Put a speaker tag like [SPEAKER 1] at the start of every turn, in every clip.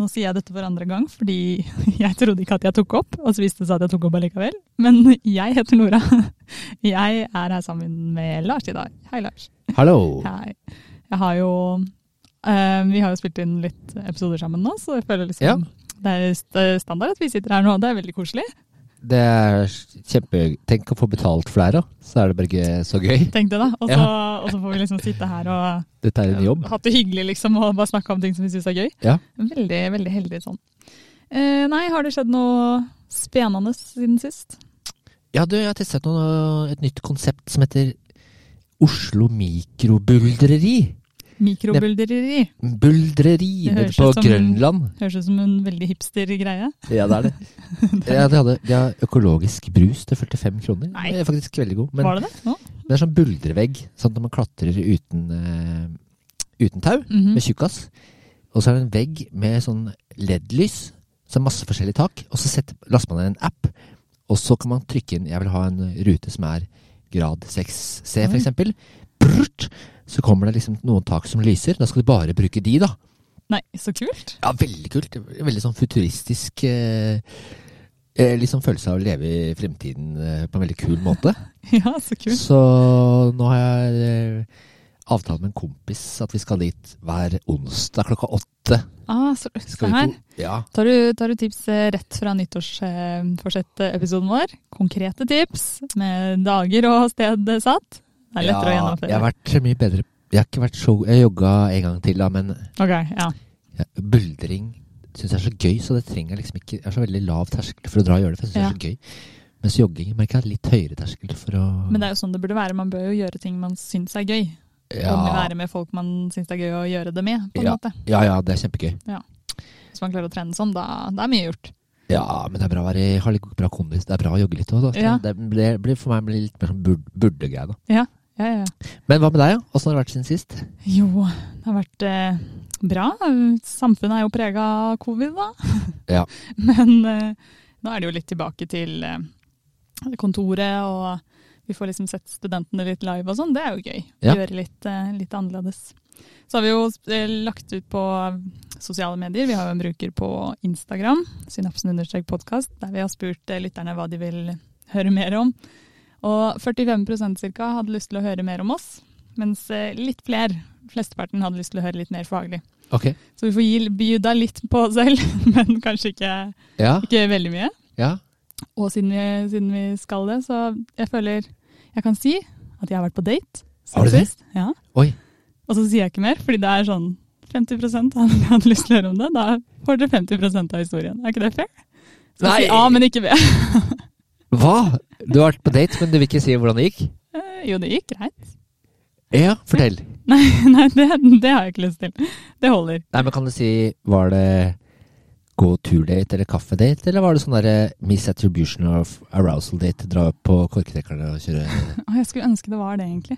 [SPEAKER 1] Nå sier jeg dette for andre gang, fordi jeg trodde ikke at jeg tok opp, og så viste det seg at jeg tok opp allikevel. Men jeg heter Nora. Jeg er her sammen med Lars i dag. Hei, Lars.
[SPEAKER 2] Hallo.
[SPEAKER 1] Hei. Jeg har jo eh, Vi har jo spilt inn litt episoder sammen nå, så jeg føler liksom
[SPEAKER 2] Ja.
[SPEAKER 1] Det er st- standard at vi sitter her nå, det er veldig koselig.
[SPEAKER 2] Det er kjempe... Tenk å få betalt flere, så er det bare ikke så gøy.
[SPEAKER 1] Tenk det, da. Og så,
[SPEAKER 2] Ja.
[SPEAKER 1] og så får vi liksom sitte her og
[SPEAKER 2] Dette er en jobb.
[SPEAKER 1] hatt det hyggelig liksom, og bare snakka om ting som vi syns er gøy.
[SPEAKER 2] Ja.
[SPEAKER 1] Veldig veldig heldig sånn. Eh, nei, har det skjedd noe spennende siden sist?
[SPEAKER 2] Ja, du, jeg har testet noe, et nytt konsept som heter Oslo mikrobuldreri.
[SPEAKER 1] Mikrobuldereri.
[SPEAKER 2] Buldreri
[SPEAKER 1] Det
[SPEAKER 2] nede
[SPEAKER 1] høres
[SPEAKER 2] på
[SPEAKER 1] ut som-
[SPEAKER 2] Grønland.
[SPEAKER 1] Høres ut som en veldig hipster greie.
[SPEAKER 2] Ja, det er det. ja, de hadde de har økologisk brus til 45 kroner.
[SPEAKER 1] Nei.
[SPEAKER 2] Det er faktisk veldig god. Men
[SPEAKER 1] Var det det? Nå?
[SPEAKER 2] det er sånn buldrevegg, sånn at man klatrer uten, eh, uten tau.
[SPEAKER 1] Mhm.
[SPEAKER 2] med tjukkas. Og så er det en vegg med sånn LED-lys, så masse forskjellige tak. Og så setter, laster man ned en app, og så kan man trykke inn Jeg vil ha en rute som er grad
[SPEAKER 1] Oi.
[SPEAKER 2] 6C, for eksempel. Brrt, så kommer det liksom noen tak som lyser. Da skal du bare bruke de, da.
[SPEAKER 1] Nei, så kult.
[SPEAKER 2] Ja, veldig kult. Veldig sånn futuristisk eh, eh, Liksom følelse av å leve i fremtiden eh, på en veldig kul måte.
[SPEAKER 1] Ja, så kult.
[SPEAKER 2] Så nå har jeg eh, avtale med en kompis at vi skal dit hver onsdag klokka åtte.
[SPEAKER 1] Ah, så, se
[SPEAKER 2] Skal vi
[SPEAKER 1] her.
[SPEAKER 2] to- Ja.
[SPEAKER 1] Tar du, tar du tips eh, rett fra nyttårsforsett-episoden vår? Konkrete tips med dager og sted eh, satt? Det er lettere å
[SPEAKER 2] ja,
[SPEAKER 1] gjennomføre.
[SPEAKER 2] jeg har vært mye bedre. Jeg har ikke vært så Jeg jogga en gang til, da, men
[SPEAKER 1] Ok, ja.
[SPEAKER 2] jeg- buldring syns jeg er så gøy, så det trenger jeg liksom ikke Jeg har så veldig lav terskel for å dra og gjøre det, for jeg syns
[SPEAKER 1] Ja.
[SPEAKER 2] det er så gøy. Mens jogging merker jeg har litt høyere terskel for å
[SPEAKER 1] Men det er jo sånn det burde være. Man bør jo gjøre ting man syns er gøy. Og
[SPEAKER 2] ja,
[SPEAKER 1] være med folk man syns det er gøy å gjøre det med, på en måte.
[SPEAKER 2] ja, ja, det er kjempegøy.
[SPEAKER 1] Hvis man klarer å trene sånn, da, da er mye gjort.
[SPEAKER 2] Ja, men det er bra å være, ha litt bra kondis. Det er bra å jogge litt òg, da.
[SPEAKER 1] Ja.
[SPEAKER 2] Det blir, blir for meg blir litt mer sånn bur- burde-greie, da.
[SPEAKER 1] Ja, ja, ja.
[SPEAKER 2] Men hva med deg, ja? Åssen har det vært siden sist?
[SPEAKER 1] Jo, det har vært eh, bra. Samfunnet er jo prega av covid, da.
[SPEAKER 2] Ja.
[SPEAKER 1] Men eh, nå er det jo litt tilbake til eh, kontoret, og vi får liksom sett studentene litt live og sånn. Det er jo gøy.
[SPEAKER 2] Ja.
[SPEAKER 1] Gjøre litt, eh, litt annerledes. Så har vi jo eh, lagt ut på sosiale medier. Vi har jo en bruker på Instagram, synapsen-podkast, der vi har spurt eh, lytterne hva de vil høre mer om. Og 45 cirka hadde lyst til å høre mer om oss, mens eh, litt flere, flesteparten, hadde lyst til å høre litt mer faglig.
[SPEAKER 2] Ok.
[SPEAKER 1] Så vi får gi bjuda litt på oss selv, men kanskje ikke,
[SPEAKER 2] Ja,
[SPEAKER 1] ikke veldig mye.
[SPEAKER 2] ja.
[SPEAKER 1] Og siden vi, siden vi skal det, så jeg føler jeg kan si at jeg har vært på date. siden
[SPEAKER 2] Har du det?
[SPEAKER 1] sist. Ja.
[SPEAKER 2] Oi.
[SPEAKER 1] Og så sier jeg ikke mer, fordi det er sånn 50 hadde jeg hadde lyst til å høre om det. Da får dere 50 av historien. Er ikke det fair? Skal
[SPEAKER 2] Nei.
[SPEAKER 1] Si A, men ikke B.
[SPEAKER 2] Hva? Du har vært på date, men du vil ikke si hvordan det gikk?
[SPEAKER 1] Eh, Jo, det gikk greit.
[SPEAKER 2] Ja, fortell.
[SPEAKER 1] Nei, nei det, det har jeg ikke lyst til. Det holder.
[SPEAKER 2] Nei, men kan du si, var det gå tur-date eller kaffedate, eller var det sånn derre Miss Attribution of Arousal-date, dra opp på korketrekkerne og kjøre
[SPEAKER 1] Å, jeg skulle ønske det var det, egentlig.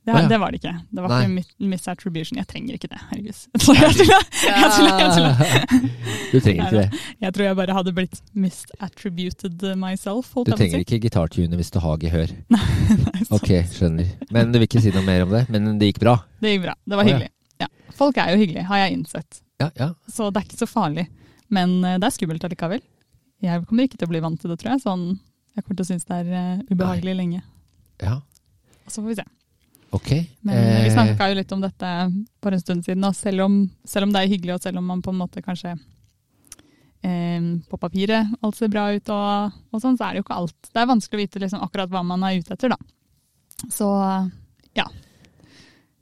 [SPEAKER 1] Det,
[SPEAKER 2] Å, ja.
[SPEAKER 1] det var det ikke. Det var
[SPEAKER 2] Nei.
[SPEAKER 1] ikke mi- misattribution. Jeg trenger ikke det, herregud. Jeg tror jeg, jeg, tuller, jeg tuller.
[SPEAKER 2] Du trenger ikke det.
[SPEAKER 1] jeg, tror jeg bare hadde blitt misattributed myself. Holdt
[SPEAKER 2] Du trenger ikke gitartune hvis du har gehør.
[SPEAKER 1] ikke
[SPEAKER 2] Ok, skjønner. Men du vil ikke si noe mer om det? Men det gikk bra?
[SPEAKER 1] Det gikk bra. Det
[SPEAKER 2] Å,
[SPEAKER 1] var
[SPEAKER 2] ja.
[SPEAKER 1] hyggelig. Ja. Folk er jo hyggelige, har jeg innsett.
[SPEAKER 2] Ja, ja.
[SPEAKER 1] Så det er ikke så farlig. Men eh, det er skummelt allikevel. Jeg kommer ikke til å bli vant til det, tror jeg. Sånn, jeg kommer til å synes det er eh, ubehagelig lenge.
[SPEAKER 2] ja.
[SPEAKER 1] Og så får vi se.
[SPEAKER 2] Ok.
[SPEAKER 1] Men
[SPEAKER 2] Eh,
[SPEAKER 1] vi snakka jo litt om dette for en stund siden, og selv om, selv om det er hyggelig, og selv om man på en måte kanskje eh, på papiret alt ser bra ut, og, og sånn, så er det jo ikke alt. Det er vanskelig å vite liksom, akkurat hva man er ute etter, da. Så ja.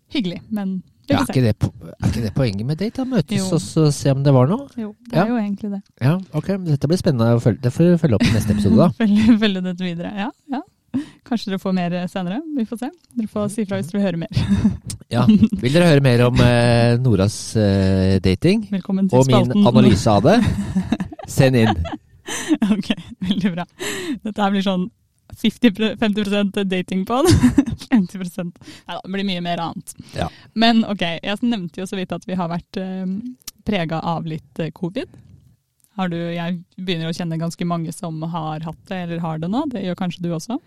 [SPEAKER 1] Hyggelig, men vi
[SPEAKER 2] ja,
[SPEAKER 1] får se.
[SPEAKER 2] er, ikke det, po- er ikke det poenget med date? da? Møtes
[SPEAKER 1] Jo.
[SPEAKER 2] og så se om det var noe?
[SPEAKER 1] Jo, det er
[SPEAKER 2] Ja.
[SPEAKER 1] jo egentlig det.
[SPEAKER 2] Ja, ok. men Dette blir spennende. å følge- Det får vi følge opp i neste episode, da.
[SPEAKER 1] Følge, følge dette videre. Ja, ja. Kanskje dere får mer senere. Vi får se. Dere får si fra hvis dere hører mer.
[SPEAKER 2] Ja. Vil dere høre mer om eh, Noras eh, dating
[SPEAKER 1] Velkommen til
[SPEAKER 2] og min
[SPEAKER 1] spalten.
[SPEAKER 2] analyse av det? Send inn.
[SPEAKER 1] Ok, veldig bra. Dette her blir sånn 50, pro- 50 datingpod. 50 Nei da, det blir mye mer annet.
[SPEAKER 2] Ja.
[SPEAKER 1] Men ok, jeg nevnte jo så vidt at vi har vært eh, prega av litt eh, covid. Har du, jeg begynner å kjenne ganske mange som har hatt det, eller har det nå. Det gjør kanskje du også?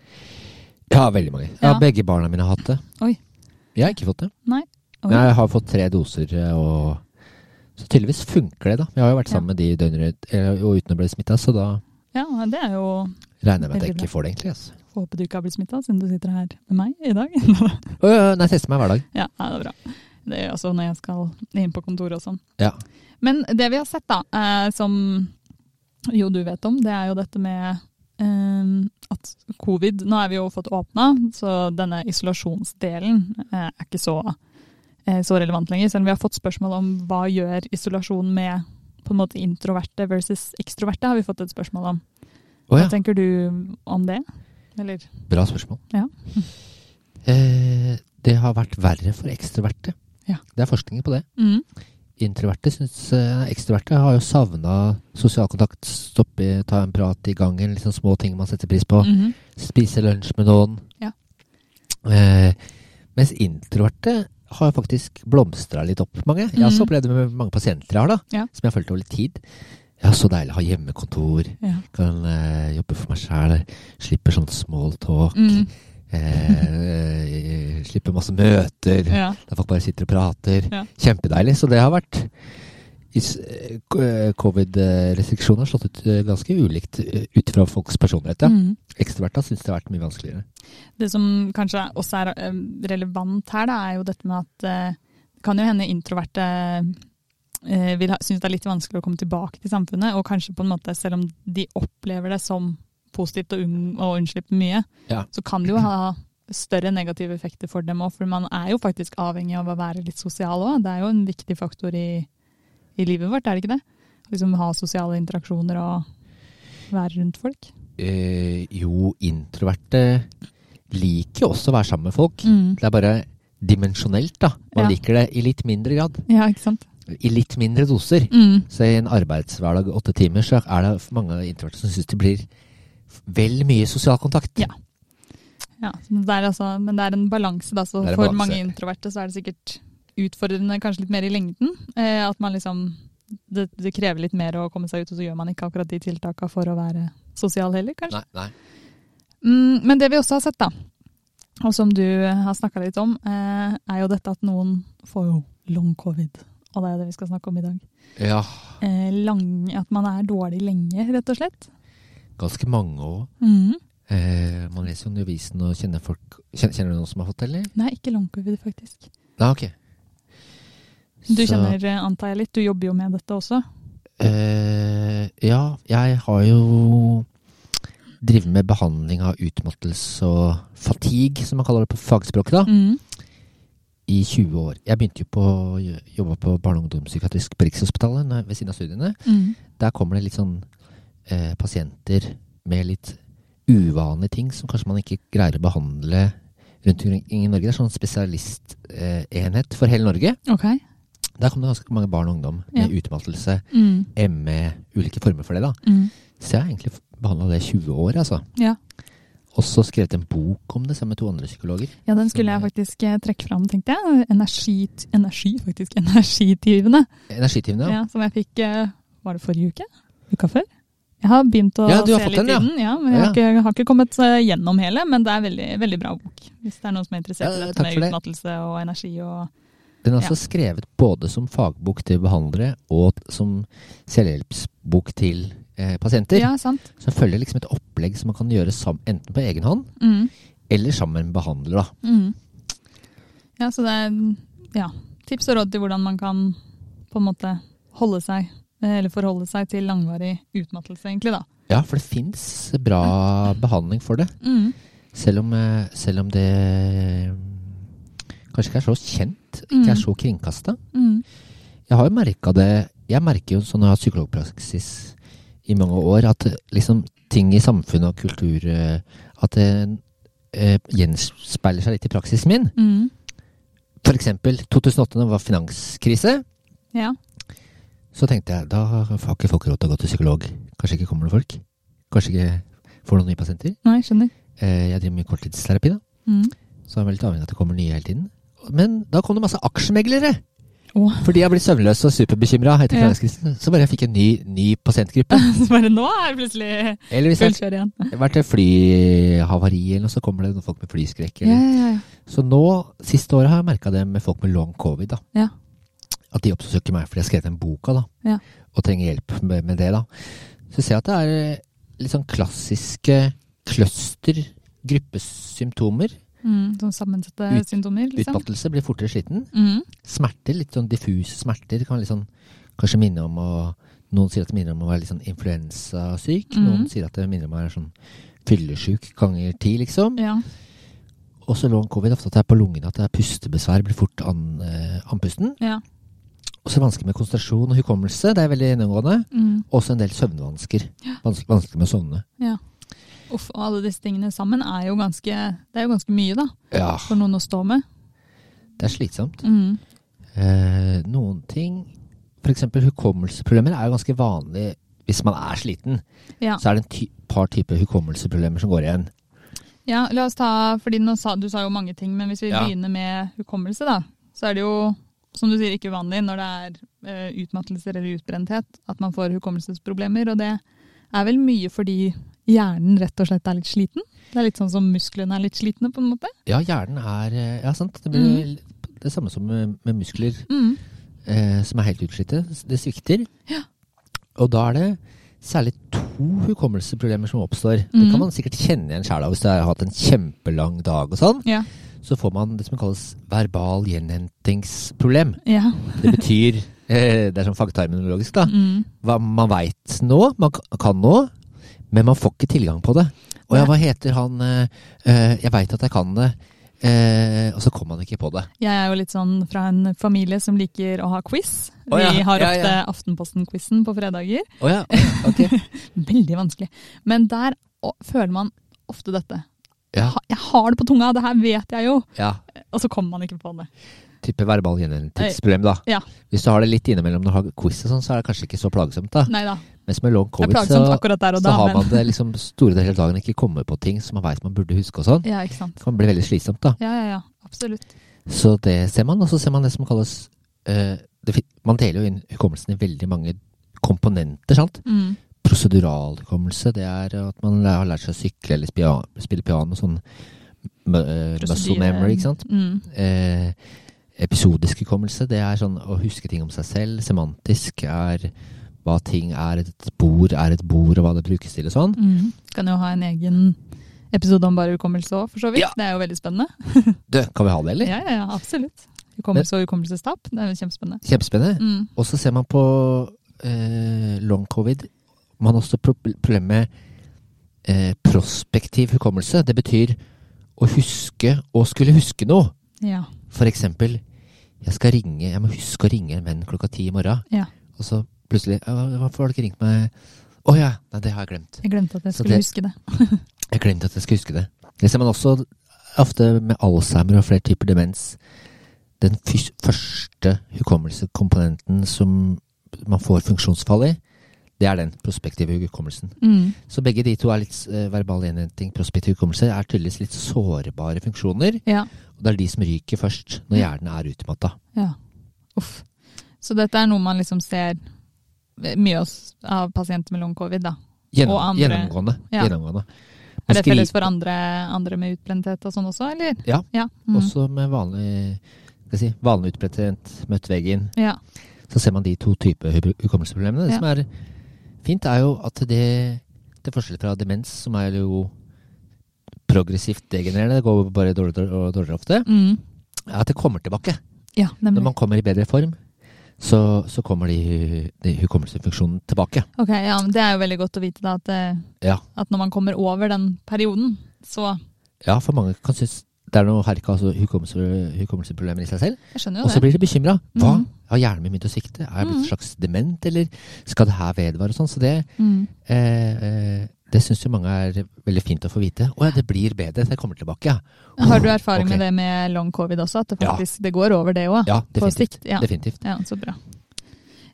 [SPEAKER 2] Ja, veldig mange. Ja.
[SPEAKER 1] Ja.
[SPEAKER 2] Begge barna mine har hatt det.
[SPEAKER 1] Oi.
[SPEAKER 2] Jeg har ikke fått det.
[SPEAKER 1] Nei. Oi.
[SPEAKER 2] Men jeg har fått tre doser, eh, og så tydeligvis funker det, da. Jeg har jo vært sammen med de døgnet eller- og uten å bli smitta, så da
[SPEAKER 1] Ja, det er jo
[SPEAKER 2] regner jeg med at jeg
[SPEAKER 1] Veldig bra.
[SPEAKER 2] ikke får det, egentlig. Altså.
[SPEAKER 1] Håper du ikke har blitt smitta, siden du sitter her med meg i dag.
[SPEAKER 2] Å, ja, nei, jeg tester meg hver dag.
[SPEAKER 1] ja, nei, det er bra. Det gjør jeg også når jeg skal inn på kontoret og sånn.
[SPEAKER 2] Ja.
[SPEAKER 1] Men det vi har sett, da, eh, som jo du vet om, det er jo dette med eh, at covid Nå er vi jo fått åpna, så denne isolasjonsdelen eh, er ikke så, eh, så relevant lenger. Selv om vi har fått spørsmål om hva gjør isolasjon med på en måte introverte versus ekstroverte, har vi fått et spørsmål om.
[SPEAKER 2] Å,
[SPEAKER 1] Hva
[SPEAKER 2] ja.
[SPEAKER 1] tenker du om det? Eller?
[SPEAKER 2] Bra spørsmål.
[SPEAKER 1] Ja.
[SPEAKER 2] Eh, det har vært verre for ekstroverte.
[SPEAKER 1] Ja.
[SPEAKER 2] Det er forskning på det.
[SPEAKER 1] Mm.
[SPEAKER 2] Introverte syns eh, ekstroverte har jo savna sosial kontakt, stoppe, ta en prat i gangen, liksom små ting man setter pris på.
[SPEAKER 1] Mhm.
[SPEAKER 2] spise lunsj med noen.
[SPEAKER 1] Ja.
[SPEAKER 2] Eh, mens introverte har faktisk blomstra litt opp, mange. Jeg har også
[SPEAKER 1] Mhm.
[SPEAKER 2] opplevd det med mange pasienter jeg har, da,
[SPEAKER 1] Ja.
[SPEAKER 2] som jeg har fulgt over litt tid. Ja, så deilig å ha hjemmekontor.
[SPEAKER 1] Ja.
[SPEAKER 2] Kan eh, jobbe for meg sjæl. Slipper sånn small talk.
[SPEAKER 1] Mm.
[SPEAKER 2] Eh, eh, slipper masse møter
[SPEAKER 1] ja.
[SPEAKER 2] der folk bare sitter og prater.
[SPEAKER 1] Ja.
[SPEAKER 2] Kjempedeilig. Så det har vært is- eh, k- eh, Covid-restriksjoner har slått ut eh, ganske ulikt eh, ut fra folks personlighet. Ja.
[SPEAKER 1] Mm.
[SPEAKER 2] Ekstraverta syns det har vært mye vanskeligere.
[SPEAKER 1] Det som kanskje også er eh, relevant her, da, er jo dette med at eh, det kan jo hende introverte eh, vil ha- synes det er litt vanskelig å komme tilbake til samfunnet, og kanskje på en måte, selv om de opplever det som positivt og, un og unnslippe mye,
[SPEAKER 2] Ja.
[SPEAKER 1] så kan det jo ha større negative effekter for dem òg, for man er jo faktisk avhengig av å være litt sosial òg. Det er jo en viktig faktor i, i livet vårt, er det ikke det? Liksom ha sosiale interaksjoner og være rundt folk.
[SPEAKER 2] Eh, jo, introverte liker jo også å være sammen med folk. Det er bare dimensjonelt, da. Man
[SPEAKER 1] Mm. Ja.
[SPEAKER 2] liker det i litt mindre grad.
[SPEAKER 1] Ja, ikke sant?
[SPEAKER 2] I litt mindre doser.
[SPEAKER 1] Mm.
[SPEAKER 2] Så i en arbeidshverdag åtte timer, så er det mange introverte som syns det blir vel mye sosial kontakt.
[SPEAKER 1] Ja. Ja, men det er, altså, men det er en balanse, da. Så
[SPEAKER 2] Det er en
[SPEAKER 1] for
[SPEAKER 2] balanse.
[SPEAKER 1] mange introverte så er det sikkert utfordrende kanskje litt mer i lengden. Eh, at man liksom det, det krever litt mer å komme seg ut, og så gjør man ikke akkurat de tiltaka for å være sosial heller, kanskje.
[SPEAKER 2] Nei, nei.
[SPEAKER 1] Mm, men det vi også har sett, da, og som du har snakka litt om, eh, er jo dette at noen får jo long covid. Og det er jo det vi skal snakke om i dag.
[SPEAKER 2] Ja,
[SPEAKER 1] Eh, lang, at man er dårlig lenge, rett og slett.
[SPEAKER 2] ganske mange òg.
[SPEAKER 1] Mhm.
[SPEAKER 2] Eh, man leser jo om det i avisen og kjenner folk Kjenner, kjenner du noen som har fått det, eller?
[SPEAKER 1] Nei, ikke long covid, faktisk.
[SPEAKER 2] Nei, ok.
[SPEAKER 1] Du
[SPEAKER 2] Så-
[SPEAKER 1] kjenner, eh, antar jeg, litt. Du jobber jo med dette også.
[SPEAKER 2] Eh, ja, jeg har jo drevet med behandling av utmattelse og fatigue, som man kaller det på fagspråket, da,
[SPEAKER 1] Mhm.
[SPEAKER 2] i 20 år. Jeg begynte jo på å jobbe på barne- og ungdomspsykiatrisk på Rikshospitalet når- ved siden av studiene.
[SPEAKER 1] Mm.
[SPEAKER 2] Der kommer det litt sånn eh, pasienter med litt uvanlige ting som kanskje man ikke greier å behandle rundt omkring i Norge. Det er sånn spesialistenhet eh, enhet for hele Norge.
[SPEAKER 1] Ok.
[SPEAKER 2] Der kom det ganske mange barn og ungdom med
[SPEAKER 1] Ja.
[SPEAKER 2] utmattelse,
[SPEAKER 1] Mm.
[SPEAKER 2] ME, ulike former for det, da.
[SPEAKER 1] Mm.
[SPEAKER 2] Så jeg har egentlig behandla det i 20 år, altså.
[SPEAKER 1] Ja.
[SPEAKER 2] Og så skrevet en bok om det sammen med to andre psykologer.
[SPEAKER 1] ja, den skulle jeg faktisk eh, trekke fram, tenkte jeg. Energi, energi faktisk. Energigivende.
[SPEAKER 2] Energigivende.
[SPEAKER 1] Ja.
[SPEAKER 2] Ja.
[SPEAKER 1] som jeg fikk eh, Var det forrige uke? Uka før? Jeg har begynt å
[SPEAKER 2] Ja, du har
[SPEAKER 1] se
[SPEAKER 2] fått
[SPEAKER 1] litt
[SPEAKER 2] den, ja.
[SPEAKER 1] i den. Ja, men jeg har,
[SPEAKER 2] Ja.
[SPEAKER 1] ikke, har ikke kommet eh, gjennom hele, men det er veldig, veldig bra bok. Hvis det er noen som er interessert
[SPEAKER 2] Ja,
[SPEAKER 1] i dette
[SPEAKER 2] takk
[SPEAKER 1] med
[SPEAKER 2] for det.
[SPEAKER 1] utmattelse og energi og
[SPEAKER 2] Den er altså skrevet både som fagbok til behandlere og t- som selvhjelpsbok til eh, pasienter.
[SPEAKER 1] Ja, sant.
[SPEAKER 2] Så jeg følger liksom et opplegg som man kan gjøre sam enten på egen hånd
[SPEAKER 1] Mm.
[SPEAKER 2] eller sammen med behandler. Da.
[SPEAKER 1] Mm. Ja, så det er ja, tips og råd til hvordan man kan på en måte holde seg, eh, eller forholde seg til langvarig utmattelse, egentlig, da.
[SPEAKER 2] Ja, for det fins bra behandling for det.
[SPEAKER 1] Mm.
[SPEAKER 2] Selv om, eh, selv om det eh, kanskje ikke er så kjent, ikke
[SPEAKER 1] Mm.
[SPEAKER 2] er så kringkasta.
[SPEAKER 1] Mm.
[SPEAKER 2] Jeg har jo merka det Jeg merker jo sånn når jeg har hatt psykologpraksis i mange år, at eh, liksom ting i samfunnet og kultur eh, At det eh, gjenspeiler seg litt i praksisen min.
[SPEAKER 1] Mm.
[SPEAKER 2] For eksempel 2008, da det var finanskrise,
[SPEAKER 1] Ja.
[SPEAKER 2] så tenkte jeg da har ikke folk råd til å gå til psykolog. Kanskje ikke kommer noen folk. Kanskje ikke får noen nye pasienter.
[SPEAKER 1] Nei, skjønner.
[SPEAKER 2] Eh, eh, jeg driver mye korttidsterapi, da.
[SPEAKER 1] Mm.
[SPEAKER 2] Så jeg er veldig avhengig av at det kommer nye hele tiden. Men da kom det masse aksjemeglere!
[SPEAKER 1] Åh.
[SPEAKER 2] Fordi jeg ble søvnløs og superbekymra etter
[SPEAKER 1] Ja.
[SPEAKER 2] finanskrisen. Så bare jeg fikk en ny, ny pasientgruppe.
[SPEAKER 1] Så bare nå er det plutselig
[SPEAKER 2] Eller hvis
[SPEAKER 1] fullt
[SPEAKER 2] det
[SPEAKER 1] kjør igjen.
[SPEAKER 2] har vært et flyhavari eller noe, så kommer det noen folk med flyskrekk. Eller. Så nå, siste året har jeg merka det med folk med long covid. da.
[SPEAKER 1] Ja.
[SPEAKER 2] At de oppsøker meg fordi jeg har skrevet den boka da.
[SPEAKER 1] Ja.
[SPEAKER 2] og trenger hjelp med, med det. da. Så ser jeg at det er eh, litt sånn klassiske cluster-gruppesymptomer.
[SPEAKER 1] Mm, sånn sammensatte
[SPEAKER 2] Ut-
[SPEAKER 1] symptomer, liksom.
[SPEAKER 2] Utmattelse, blir fortere sliten.
[SPEAKER 1] Mm.
[SPEAKER 2] Smerter, litt sånn diffuse smerter, kan litt sånn, kanskje minne om å Noen sier at det minner om å være litt sånn influensasyk.
[SPEAKER 1] Mhm.
[SPEAKER 2] Noen sier at det minner om å være sånn fyllesjuk ganger ti, liksom.
[SPEAKER 1] Ja.
[SPEAKER 2] Og så long covid, ofte at det er på lungene, at det er pustebesvær, blir fort an, eh, andpusten.
[SPEAKER 1] ja.
[SPEAKER 2] Og så vanskelig med konsentrasjon og hukommelse, det er veldig gjennomgående.
[SPEAKER 1] Mm.
[SPEAKER 2] Også en del søvnvansker. Vanskelig, vanskelig med å sovne.
[SPEAKER 1] ja. Uff, og alle disse tingene sammen er jo ganske Det er jo ganske mye, da.
[SPEAKER 2] Ja,
[SPEAKER 1] For noen å stå med.
[SPEAKER 2] det er slitsomt.
[SPEAKER 1] Mm.
[SPEAKER 2] Eh, noen ting, f.eks. hukommelseproblemer, er jo ganske vanlig hvis man er sliten.
[SPEAKER 1] Ja.
[SPEAKER 2] Så er det en ty par typer hukommelseproblemer som går igjen.
[SPEAKER 1] Ja, la oss ta, fordi nå sa, Du sa jo mange ting, men hvis vi
[SPEAKER 2] Ja.
[SPEAKER 1] begynner med hukommelse, da, så er det jo, som du sier, ikke uvanlig når det er eh, utmattelser eller utbrenthet at man får hukommelsesproblemer. Og det er vel mye fordi hjernen rett og slett er litt sliten? Det er litt sånn som musklene er litt slitne, på en måte?
[SPEAKER 2] Ja, hjernen er eh, Ja, sant. Det blir det samme som med, med muskler
[SPEAKER 1] Mm.
[SPEAKER 2] eh, som er helt utslitte. Det svikter.
[SPEAKER 1] Ja.
[SPEAKER 2] Og da er det særlig to hukommelsesproblemer som oppstår. Det
[SPEAKER 1] Mhm.
[SPEAKER 2] kan man sikkert kjenne igjen sjæl av hvis du har hatt en kjempelang dag og sånn.
[SPEAKER 1] Ja.
[SPEAKER 2] Så får man det som kalles verbal gjenhentingsproblem.
[SPEAKER 1] ja.
[SPEAKER 2] Det betyr eh, Det er sånn fagterminologisk, da.
[SPEAKER 1] Mm.
[SPEAKER 2] Hva man veit nå, man k- kan nå, men man får ikke tilgang på det. Og ja, hva heter han eh, eh, Jeg veit at jeg kan det, eh, og så kommer man ikke på det.
[SPEAKER 1] Jeg er jo litt sånn fra en familie som liker å ha quiz.
[SPEAKER 2] Å ja,
[SPEAKER 1] Vi har
[SPEAKER 2] ja,
[SPEAKER 1] ofte
[SPEAKER 2] ja.
[SPEAKER 1] Aftenposten-quizen på fredager.
[SPEAKER 2] Å ja, ok.
[SPEAKER 1] Veldig vanskelig. Men der å, føler man ofte dette.
[SPEAKER 2] Ja,
[SPEAKER 1] Ha- Jeg har det på tunga, det her vet jeg jo.
[SPEAKER 2] ja.
[SPEAKER 1] Og så kommer man ikke på det.
[SPEAKER 2] Type verbal gjenhentingsproblem, da.
[SPEAKER 1] Ja.
[SPEAKER 2] Hvis du har det litt innimellom når du har quiz og sånn, så er det kanskje ikke så plagsomt, da.
[SPEAKER 1] Nei da.
[SPEAKER 2] Mens med long
[SPEAKER 1] Mm. Det er
[SPEAKER 2] covid så,
[SPEAKER 1] plagsomt akkurat der og
[SPEAKER 2] så
[SPEAKER 1] da,
[SPEAKER 2] har
[SPEAKER 1] men
[SPEAKER 2] man det liksom store deler av dagen ikke kommet på ting som man veit man burde huske og sånn.
[SPEAKER 1] Ja, ikke sant.
[SPEAKER 2] Det kan bli veldig slitsomt, da.
[SPEAKER 1] Ja, ja, ja. Absolutt.
[SPEAKER 2] Så det ser man, og så ser man det som kalles eh, det, fin- Man deler jo inn hukommelsen i veldig mange komponenter, sant?
[SPEAKER 1] Mm.
[SPEAKER 2] Prosedural hukommelse, det er at man læ- har lært seg å sykle eller spia, spille piano, sånn m- eh, muscle
[SPEAKER 1] Prosedyre.
[SPEAKER 2] memory, ikke sant?
[SPEAKER 1] Mm.
[SPEAKER 2] Eh, episodisk hukommelse, det er sånn å huske ting om seg selv. Semantisk er hva ting er, et bord er et bord, og hva det brukes til og sånn.
[SPEAKER 1] Mm. Kan jo ha en egen episode om bare hukommelse òg, for så vidt.
[SPEAKER 2] Ja.
[SPEAKER 1] Det er jo veldig spennende.
[SPEAKER 2] Du, kan vi ha det, eller?
[SPEAKER 1] Ja, ja, ja. Absolutt. Hukommelse og hukommelsestap. Det er jo kjempespennende.
[SPEAKER 2] Kjempespennende.
[SPEAKER 1] Mm.
[SPEAKER 2] Og så ser man på eh, long covid Man har også pro- problemer med eh, prospektiv hukommelse. Det betyr å huske å skulle huske noe.
[SPEAKER 1] Ja.
[SPEAKER 2] For eksempel, jeg skal ringe Jeg må huske å ringe en venn klokka ti i morgen.
[SPEAKER 1] Ja.
[SPEAKER 2] Og så plutselig «Ja, hva- 'Hvorfor har du ikke ringt meg?' 'Å ja, nei, det har jeg glemt'.
[SPEAKER 1] Jeg glemte at jeg
[SPEAKER 2] Så
[SPEAKER 1] skulle
[SPEAKER 2] det-
[SPEAKER 1] huske det.
[SPEAKER 2] Jeg glemte at jeg skulle huske det. Det ser man også ofte med Alzheimer og flere typer demens. Den fys- første hukommelsekomponenten som man får funksjonsfall i, det er den prospektive hukommelsen.
[SPEAKER 1] Mm.
[SPEAKER 2] Så begge de to er litt eh, verbal gjenhenting, prospektiv hukommelse, er tydeligvis litt sårbare funksjoner.
[SPEAKER 1] Ja.
[SPEAKER 2] Og det er de som ryker først, når hjernen er utmatta.
[SPEAKER 1] Ja. Uff. Så dette er noe man liksom ser mye hos- av pasienter med long covid, da.
[SPEAKER 2] Gjennom,
[SPEAKER 1] Og andre.
[SPEAKER 2] gjennomgående.
[SPEAKER 1] Ja.
[SPEAKER 2] gjennomgående.
[SPEAKER 1] Er det
[SPEAKER 2] Skri-
[SPEAKER 1] felles for andre, andre med utbrenthet og sånn også, eller?
[SPEAKER 2] Ja.
[SPEAKER 1] ja. Mm.
[SPEAKER 2] Også med vanlig, skal jeg si, vanlig utbredt, møtt veggen,
[SPEAKER 1] Ja.
[SPEAKER 2] så ser man de to typer hu- hukommelsesproblemene. Det
[SPEAKER 1] Ja.
[SPEAKER 2] som er fint, er jo at det til forskjell fra demens, som er jo progressivt degenererende, det går bare dårligere og dårligere ofte,
[SPEAKER 1] Mm.
[SPEAKER 2] er at det kommer tilbake.
[SPEAKER 1] ja
[SPEAKER 2] Når
[SPEAKER 1] nemlig.
[SPEAKER 2] man kommer i bedre form, så, så kommer de, hu- de hukommelsesfunksjonen tilbake.
[SPEAKER 1] Ok, ja, men Det er jo veldig godt å vite da at, eh,
[SPEAKER 2] Ja.
[SPEAKER 1] at når man kommer over den perioden, så
[SPEAKER 2] ja, for mange kan synes det er noe herka, altså hukommelse- hukommelseproblemer i seg selv.
[SPEAKER 1] Jeg skjønner
[SPEAKER 2] Og
[SPEAKER 1] jo
[SPEAKER 2] så
[SPEAKER 1] det.
[SPEAKER 2] blir de bekymra. Hva?
[SPEAKER 1] Mhm.
[SPEAKER 2] Har hjernen min begynt å svikte? Er jeg blitt
[SPEAKER 1] Mhm.
[SPEAKER 2] en slags dement, eller skal det her vedvare? og sånn? Så det,
[SPEAKER 1] Mm.
[SPEAKER 2] Eh, eh, det syns jo mange er veldig fint å få vite. Å ja, det blir bedre. Det kommer tilbake, ja.
[SPEAKER 1] Har du erfaring
[SPEAKER 2] Ok.
[SPEAKER 1] med det med long covid også, at det
[SPEAKER 2] Ja.
[SPEAKER 1] faktisk det går over det òg?
[SPEAKER 2] Ja,
[SPEAKER 1] på
[SPEAKER 2] definitivt.
[SPEAKER 1] sikt? Ja.
[SPEAKER 2] definitivt.
[SPEAKER 1] Ja, så bra.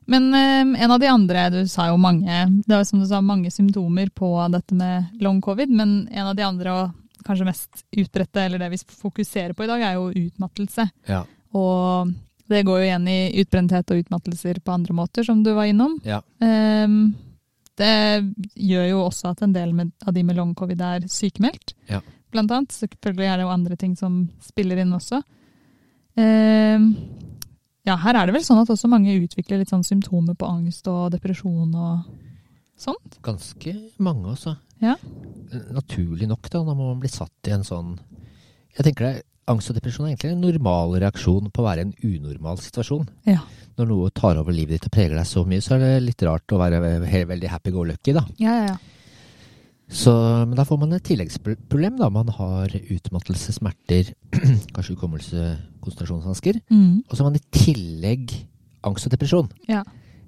[SPEAKER 1] Men eh, en av de andre, du sa jo mange, det var jo som du sa mange symptomer på dette med long covid, men en av de andre og kanskje mest utbredte, eller det vi fokuserer på i dag, er jo utmattelse.
[SPEAKER 2] Ja.
[SPEAKER 1] Og det går jo igjen i utbrenthet og utmattelser på andre måter, som du var innom.
[SPEAKER 2] Ja.
[SPEAKER 1] Ehm, det gjør jo også at en del med, av de med long covid er sykemeldt,
[SPEAKER 2] Ja.
[SPEAKER 1] blant annet. Selvfølgelig er det jo andre ting som spiller inn også. Ehm, ja, her er det vel sånn at også mange utvikler litt sånn symptomer på angst og depresjon og sånt.
[SPEAKER 2] Ganske mange, altså.
[SPEAKER 1] Ja.
[SPEAKER 2] Naturlig nok, da, når man blir satt i en sånn Jeg tenker det, er- Angst og depresjon er egentlig en normal reaksjon på å være i en unormal situasjon.
[SPEAKER 1] Ja.
[SPEAKER 2] Når noe tar over livet ditt og preger deg så mye, så er det litt rart å være ve- he- veldig happy go lucky, da.
[SPEAKER 1] Ja, ja, ja.
[SPEAKER 2] Så, men da får man et tilleggsproblem, da. Man har utmattelse, smerter, kanskje hukommelse, konsentrasjonsvansker.
[SPEAKER 1] Mm,
[SPEAKER 2] Og så har man i tillegg angst og depresjon.
[SPEAKER 1] ja.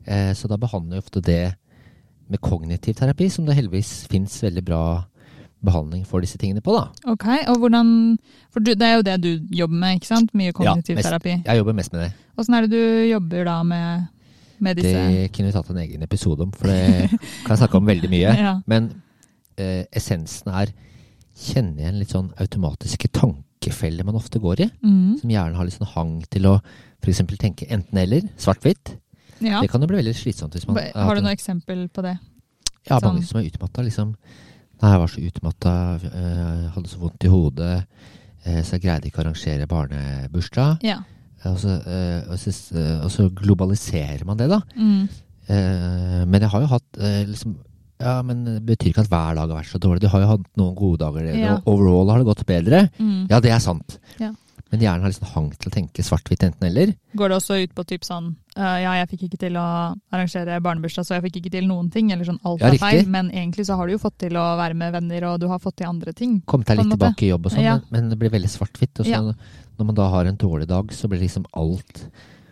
[SPEAKER 2] Eh, Så da behandler vi ofte det med kognitiv terapi, som det heldigvis fins veldig bra behandling for disse tingene på, da.
[SPEAKER 1] Ok, og hvordan For du, det er jo det du jobber med, ikke sant? Mye kognitiv
[SPEAKER 2] mest-
[SPEAKER 1] terapi.
[SPEAKER 2] Jeg jobber mest med det.
[SPEAKER 1] Åssen er det du jobber da med, med disse
[SPEAKER 2] Det kunne vi tatt en egen episode om, for det kan jeg snakke om veldig mye.
[SPEAKER 1] Ja.
[SPEAKER 2] Men eh, essensen er kjenne igjen litt sånn automatiske tankefeller man ofte går i.
[SPEAKER 1] Mm,
[SPEAKER 2] Som gjerne har litt sånn hang til å f.eks. tenke enten-eller, svart-hvitt.
[SPEAKER 1] ja.
[SPEAKER 2] Det kan jo bli veldig slitsomt hvis man
[SPEAKER 1] Ba- Har du noe eksempel på det?
[SPEAKER 2] Ja,
[SPEAKER 1] Sånn.
[SPEAKER 2] mange som er utmatta, liksom. Nei, jeg var så utmatta, eh, hadde så vondt i hodet, eh, så jeg greide ikke å arrangere barnebursdag.
[SPEAKER 1] Ja.
[SPEAKER 2] Og så, eh, og så- eh, og så globaliserer man det, da.
[SPEAKER 1] Mm.
[SPEAKER 2] Eh, Men jeg har jo hatt eh, liksom ja, men Det betyr ikke at hver dag har vært så dårlig. Du har jo hatt noen gode dager. det-
[SPEAKER 1] Ja.
[SPEAKER 2] og Overall har det gått bedre.
[SPEAKER 1] Mm.
[SPEAKER 2] Ja, det er sant.
[SPEAKER 1] Ja.
[SPEAKER 2] Men hjernen har liksom hang til å tenke svart-hvitt enten-eller.
[SPEAKER 1] Går det også ut på typ sånn eh, Ja, jeg fikk ikke til å arrangere barnebursdag, så jeg fikk ikke til noen ting. Eller sånn alt
[SPEAKER 2] Ja,
[SPEAKER 1] er
[SPEAKER 2] riktig.
[SPEAKER 1] feil. Men egentlig så har du jo fått til å være med venner, og du har fått til andre ting.
[SPEAKER 2] Komme deg
[SPEAKER 1] På en
[SPEAKER 2] litt
[SPEAKER 1] måte.
[SPEAKER 2] tilbake i jobb og sånn,
[SPEAKER 1] Ja.
[SPEAKER 2] men, men det blir veldig svart-hvitt. Og så
[SPEAKER 1] Ja.
[SPEAKER 2] når man da har en dårlig dag, så blir liksom alt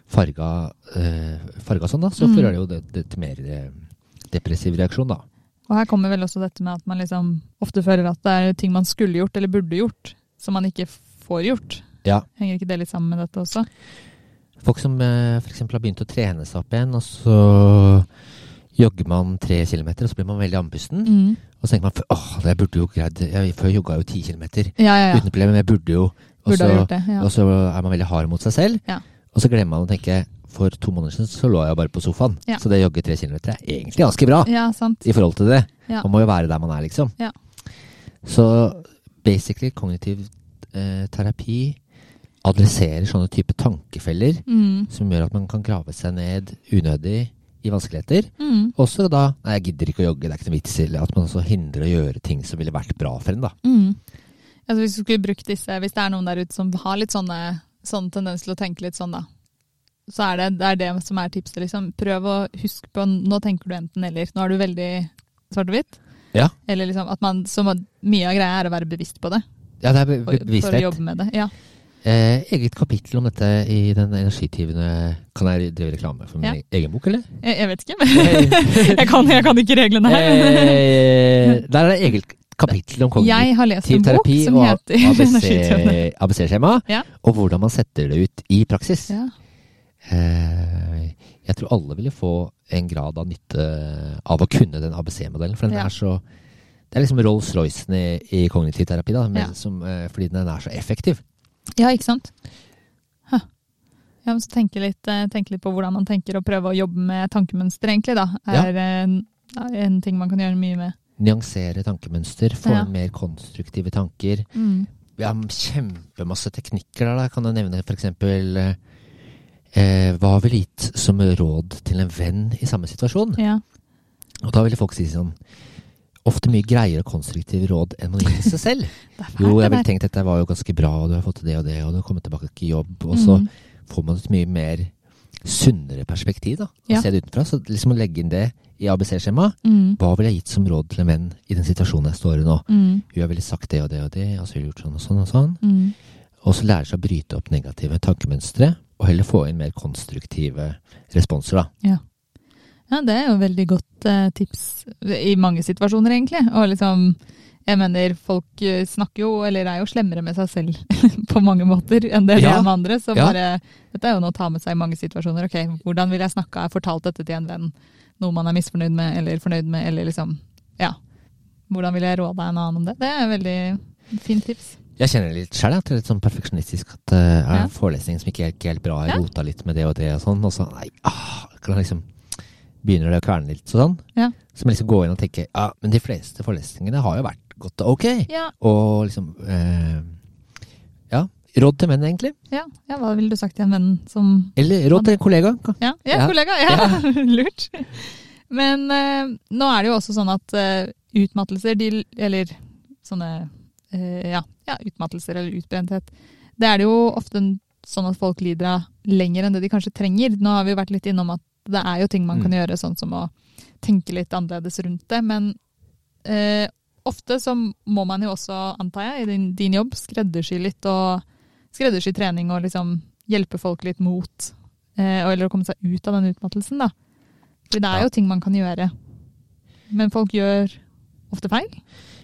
[SPEAKER 2] farga, eh, farga sånn, da. Så
[SPEAKER 1] Mm.
[SPEAKER 2] fører det jo det, det til mer eh, depressiv reaksjon, da.
[SPEAKER 1] Og her kommer vel også dette med at man liksom ofte føler at det er ting man skulle gjort eller burde gjort, som man ikke får gjort.
[SPEAKER 2] Ja.
[SPEAKER 1] Henger ikke det litt sammen med dette også?
[SPEAKER 2] Folk som eh, f.eks. har begynt å trene seg opp igjen, og så jogger man tre kilometer, og så blir man veldig andpusten.
[SPEAKER 1] Mm.
[SPEAKER 2] Og så tenker man åh, det burde jo greid jeg, Før jogga jeg jo ti kilometer
[SPEAKER 1] Ja, ja, ja.
[SPEAKER 2] uten problem, men jeg burde jo og
[SPEAKER 1] Burde
[SPEAKER 2] så-
[SPEAKER 1] ha gjort det. Ja.
[SPEAKER 2] Og så er man veldig hard mot seg selv.
[SPEAKER 1] Ja.
[SPEAKER 2] Og så glemmer man å tenke for to måneder siden så lå jeg bare på sofaen.
[SPEAKER 1] Ja.
[SPEAKER 2] Så det å jogge tre kilometer er egentlig ganske bra
[SPEAKER 1] ja, sant.
[SPEAKER 2] i forhold til det.
[SPEAKER 1] Ja.
[SPEAKER 2] Man må jo være der man er, liksom.
[SPEAKER 1] Ja.
[SPEAKER 2] Så basically kognitiv eh, terapi adresserer sånne type tankefeller
[SPEAKER 1] Mm.
[SPEAKER 2] som gjør at man kan grave seg ned unødig i vanskeligheter.
[SPEAKER 1] Mm.
[SPEAKER 2] Også da Nei, jeg gidder ikke å jogge, det er ikke noe vits i. Eller at man også hindrer å gjøre ting som ville vært bra for en, da.
[SPEAKER 1] Mm. Altså, hvis, du skulle brukt disse, hvis det er noen der ute som har litt sånne, sånn tendens til å tenke litt sånn, da, så er det det, er det som er tipset. Liksom. Prøv å huske på Nå tenker du enten eller. Nå er du veldig svart-hvitt.
[SPEAKER 2] Ja.
[SPEAKER 1] Eller liksom at man, så man, Mye av greia er å være bevisst på det.
[SPEAKER 2] Ja, det er be-
[SPEAKER 1] For,
[SPEAKER 2] be-
[SPEAKER 1] for å
[SPEAKER 2] bevissthet.
[SPEAKER 1] jobbe med det. Ja.
[SPEAKER 2] Eh, eget kapittel om dette i den energigivende Kan jeg drive reklame for min
[SPEAKER 1] Ja.
[SPEAKER 2] e- egen bok, eller?
[SPEAKER 1] Jeg, jeg vet ikke, men jeg kan, jeg kan ikke reglene her.
[SPEAKER 2] Eh, der er det eget kapittel om kognitiv
[SPEAKER 1] Jeg har lest en bok
[SPEAKER 2] terapi
[SPEAKER 1] som
[SPEAKER 2] og
[SPEAKER 1] heter Energitønne.
[SPEAKER 2] ABC ABC-skjema,
[SPEAKER 1] Ja.
[SPEAKER 2] og hvordan man setter det ut i praksis.
[SPEAKER 1] Ja.
[SPEAKER 2] Eh, jeg tror alle ville få en grad av nytte av å kunne den ABC-modellen, for den
[SPEAKER 1] Ja.
[SPEAKER 2] er så det er liksom Rolls-Roycen i, i kognitiv terapi, da, men
[SPEAKER 1] Ja.
[SPEAKER 2] som, eh, fordi den er så effektiv.
[SPEAKER 1] Ja, ikke sant? Huh. Ja, men så tenke litt, eh, tenke litt på hvordan man tenker og prøve å jobbe med tankemønstre, egentlig, da.
[SPEAKER 2] Ja.
[SPEAKER 1] Er eh, en, er en ting man kan gjøre mye med.
[SPEAKER 2] Nyansere tankemønster, få
[SPEAKER 1] Ja.
[SPEAKER 2] mer konstruktive tanker. Vi har kjempemasse teknikker der. Da. Kan jeg nevne f.eks. Eh, hva ville gitt som råd til en venn i samme situasjon?
[SPEAKER 1] Ja.
[SPEAKER 2] Og da ville folk si sånn Ofte mye greiere og konstruktive råd enn man gir til seg selv.
[SPEAKER 1] Det er fælt,
[SPEAKER 2] Jo, jeg
[SPEAKER 1] det
[SPEAKER 2] ville
[SPEAKER 1] der.
[SPEAKER 2] tenkt dette var jo ganske bra, og du har fått til det og det, og du har kommet tilbake i jobb. Og så
[SPEAKER 1] Mm.
[SPEAKER 2] får man et mye mer sunnere perspektiv, da. Å
[SPEAKER 1] Ja.
[SPEAKER 2] se det utenfra. Så liksom å legge inn det i ABC-skjemaet.
[SPEAKER 1] Mm.
[SPEAKER 2] Hva ville jeg gitt som råd til en venn i den situasjonen jeg står i nå?
[SPEAKER 1] Mm.
[SPEAKER 2] Jo, jeg ville sagt det og det og det, og så ville jeg gjort sånn og sånn og sånn.
[SPEAKER 1] Mm.
[SPEAKER 2] Og så lære seg å bryte opp negative tankemønstre, og heller få inn mer konstruktive responser, da.
[SPEAKER 1] Ja, det er jo veldig godt eh, tips i mange situasjoner, egentlig. Og liksom, jeg mener, folk eh, snakker jo, eller er jo slemmere med seg selv på mange måter enn det de
[SPEAKER 2] Ja.
[SPEAKER 1] er med andre. Så
[SPEAKER 2] Ja.
[SPEAKER 1] bare, dette er jo noe å ta med seg i mange situasjoner. Ok, hvordan vil jeg snakke? Har jeg fortalt dette til en venn? Noe man er misfornøyd med, eller fornøyd med, eller liksom, ja. Hvordan vil jeg råde en annen om det? Det er veldig Fint tips.
[SPEAKER 2] Jeg kjenner litt sjøl at jeg er litt sånn perfeksjonistisk. At det er
[SPEAKER 1] Ja.
[SPEAKER 2] en forelesning som ikke er helt bra. Jeg
[SPEAKER 1] Ja.
[SPEAKER 2] rota litt med det og det og sånn. Og så nei, ah, kan jeg liksom, begynner det å kverne litt sånn.
[SPEAKER 1] Ja.
[SPEAKER 2] Så må jeg liksom gå inn og tenke ja, men de fleste forelesningene har jo vært godt og ok.
[SPEAKER 1] Ja,
[SPEAKER 2] Og liksom eh, Ja. Råd til menn, egentlig.
[SPEAKER 1] ja, ja, hva ville du sagt til en venn som
[SPEAKER 2] Eller råd til en kollega.
[SPEAKER 1] Ja, ja,
[SPEAKER 2] Ja.
[SPEAKER 1] kollega. Ja. Lurt. Men eh, nå er det jo også sånn at eh, utmattelser, de, eller sånne eh, ja, ja, utmattelser eller utbrenthet, det er det jo ofte en- sånn at folk lider av lenger enn det de kanskje trenger. Nå har vi vært litt innom at det er jo ting man kan gjøre, sånn som å tenke litt annerledes rundt det, men eh, ofte så må man jo også, antar jeg, i din, din jobb skreddersy litt og skreddersy trening og liksom hjelpe folk litt mot eh, og- eller å komme seg ut av den utmattelsen, da. For det er
[SPEAKER 2] Ja.
[SPEAKER 1] jo ting man kan gjøre. Men folk gjør ofte feil,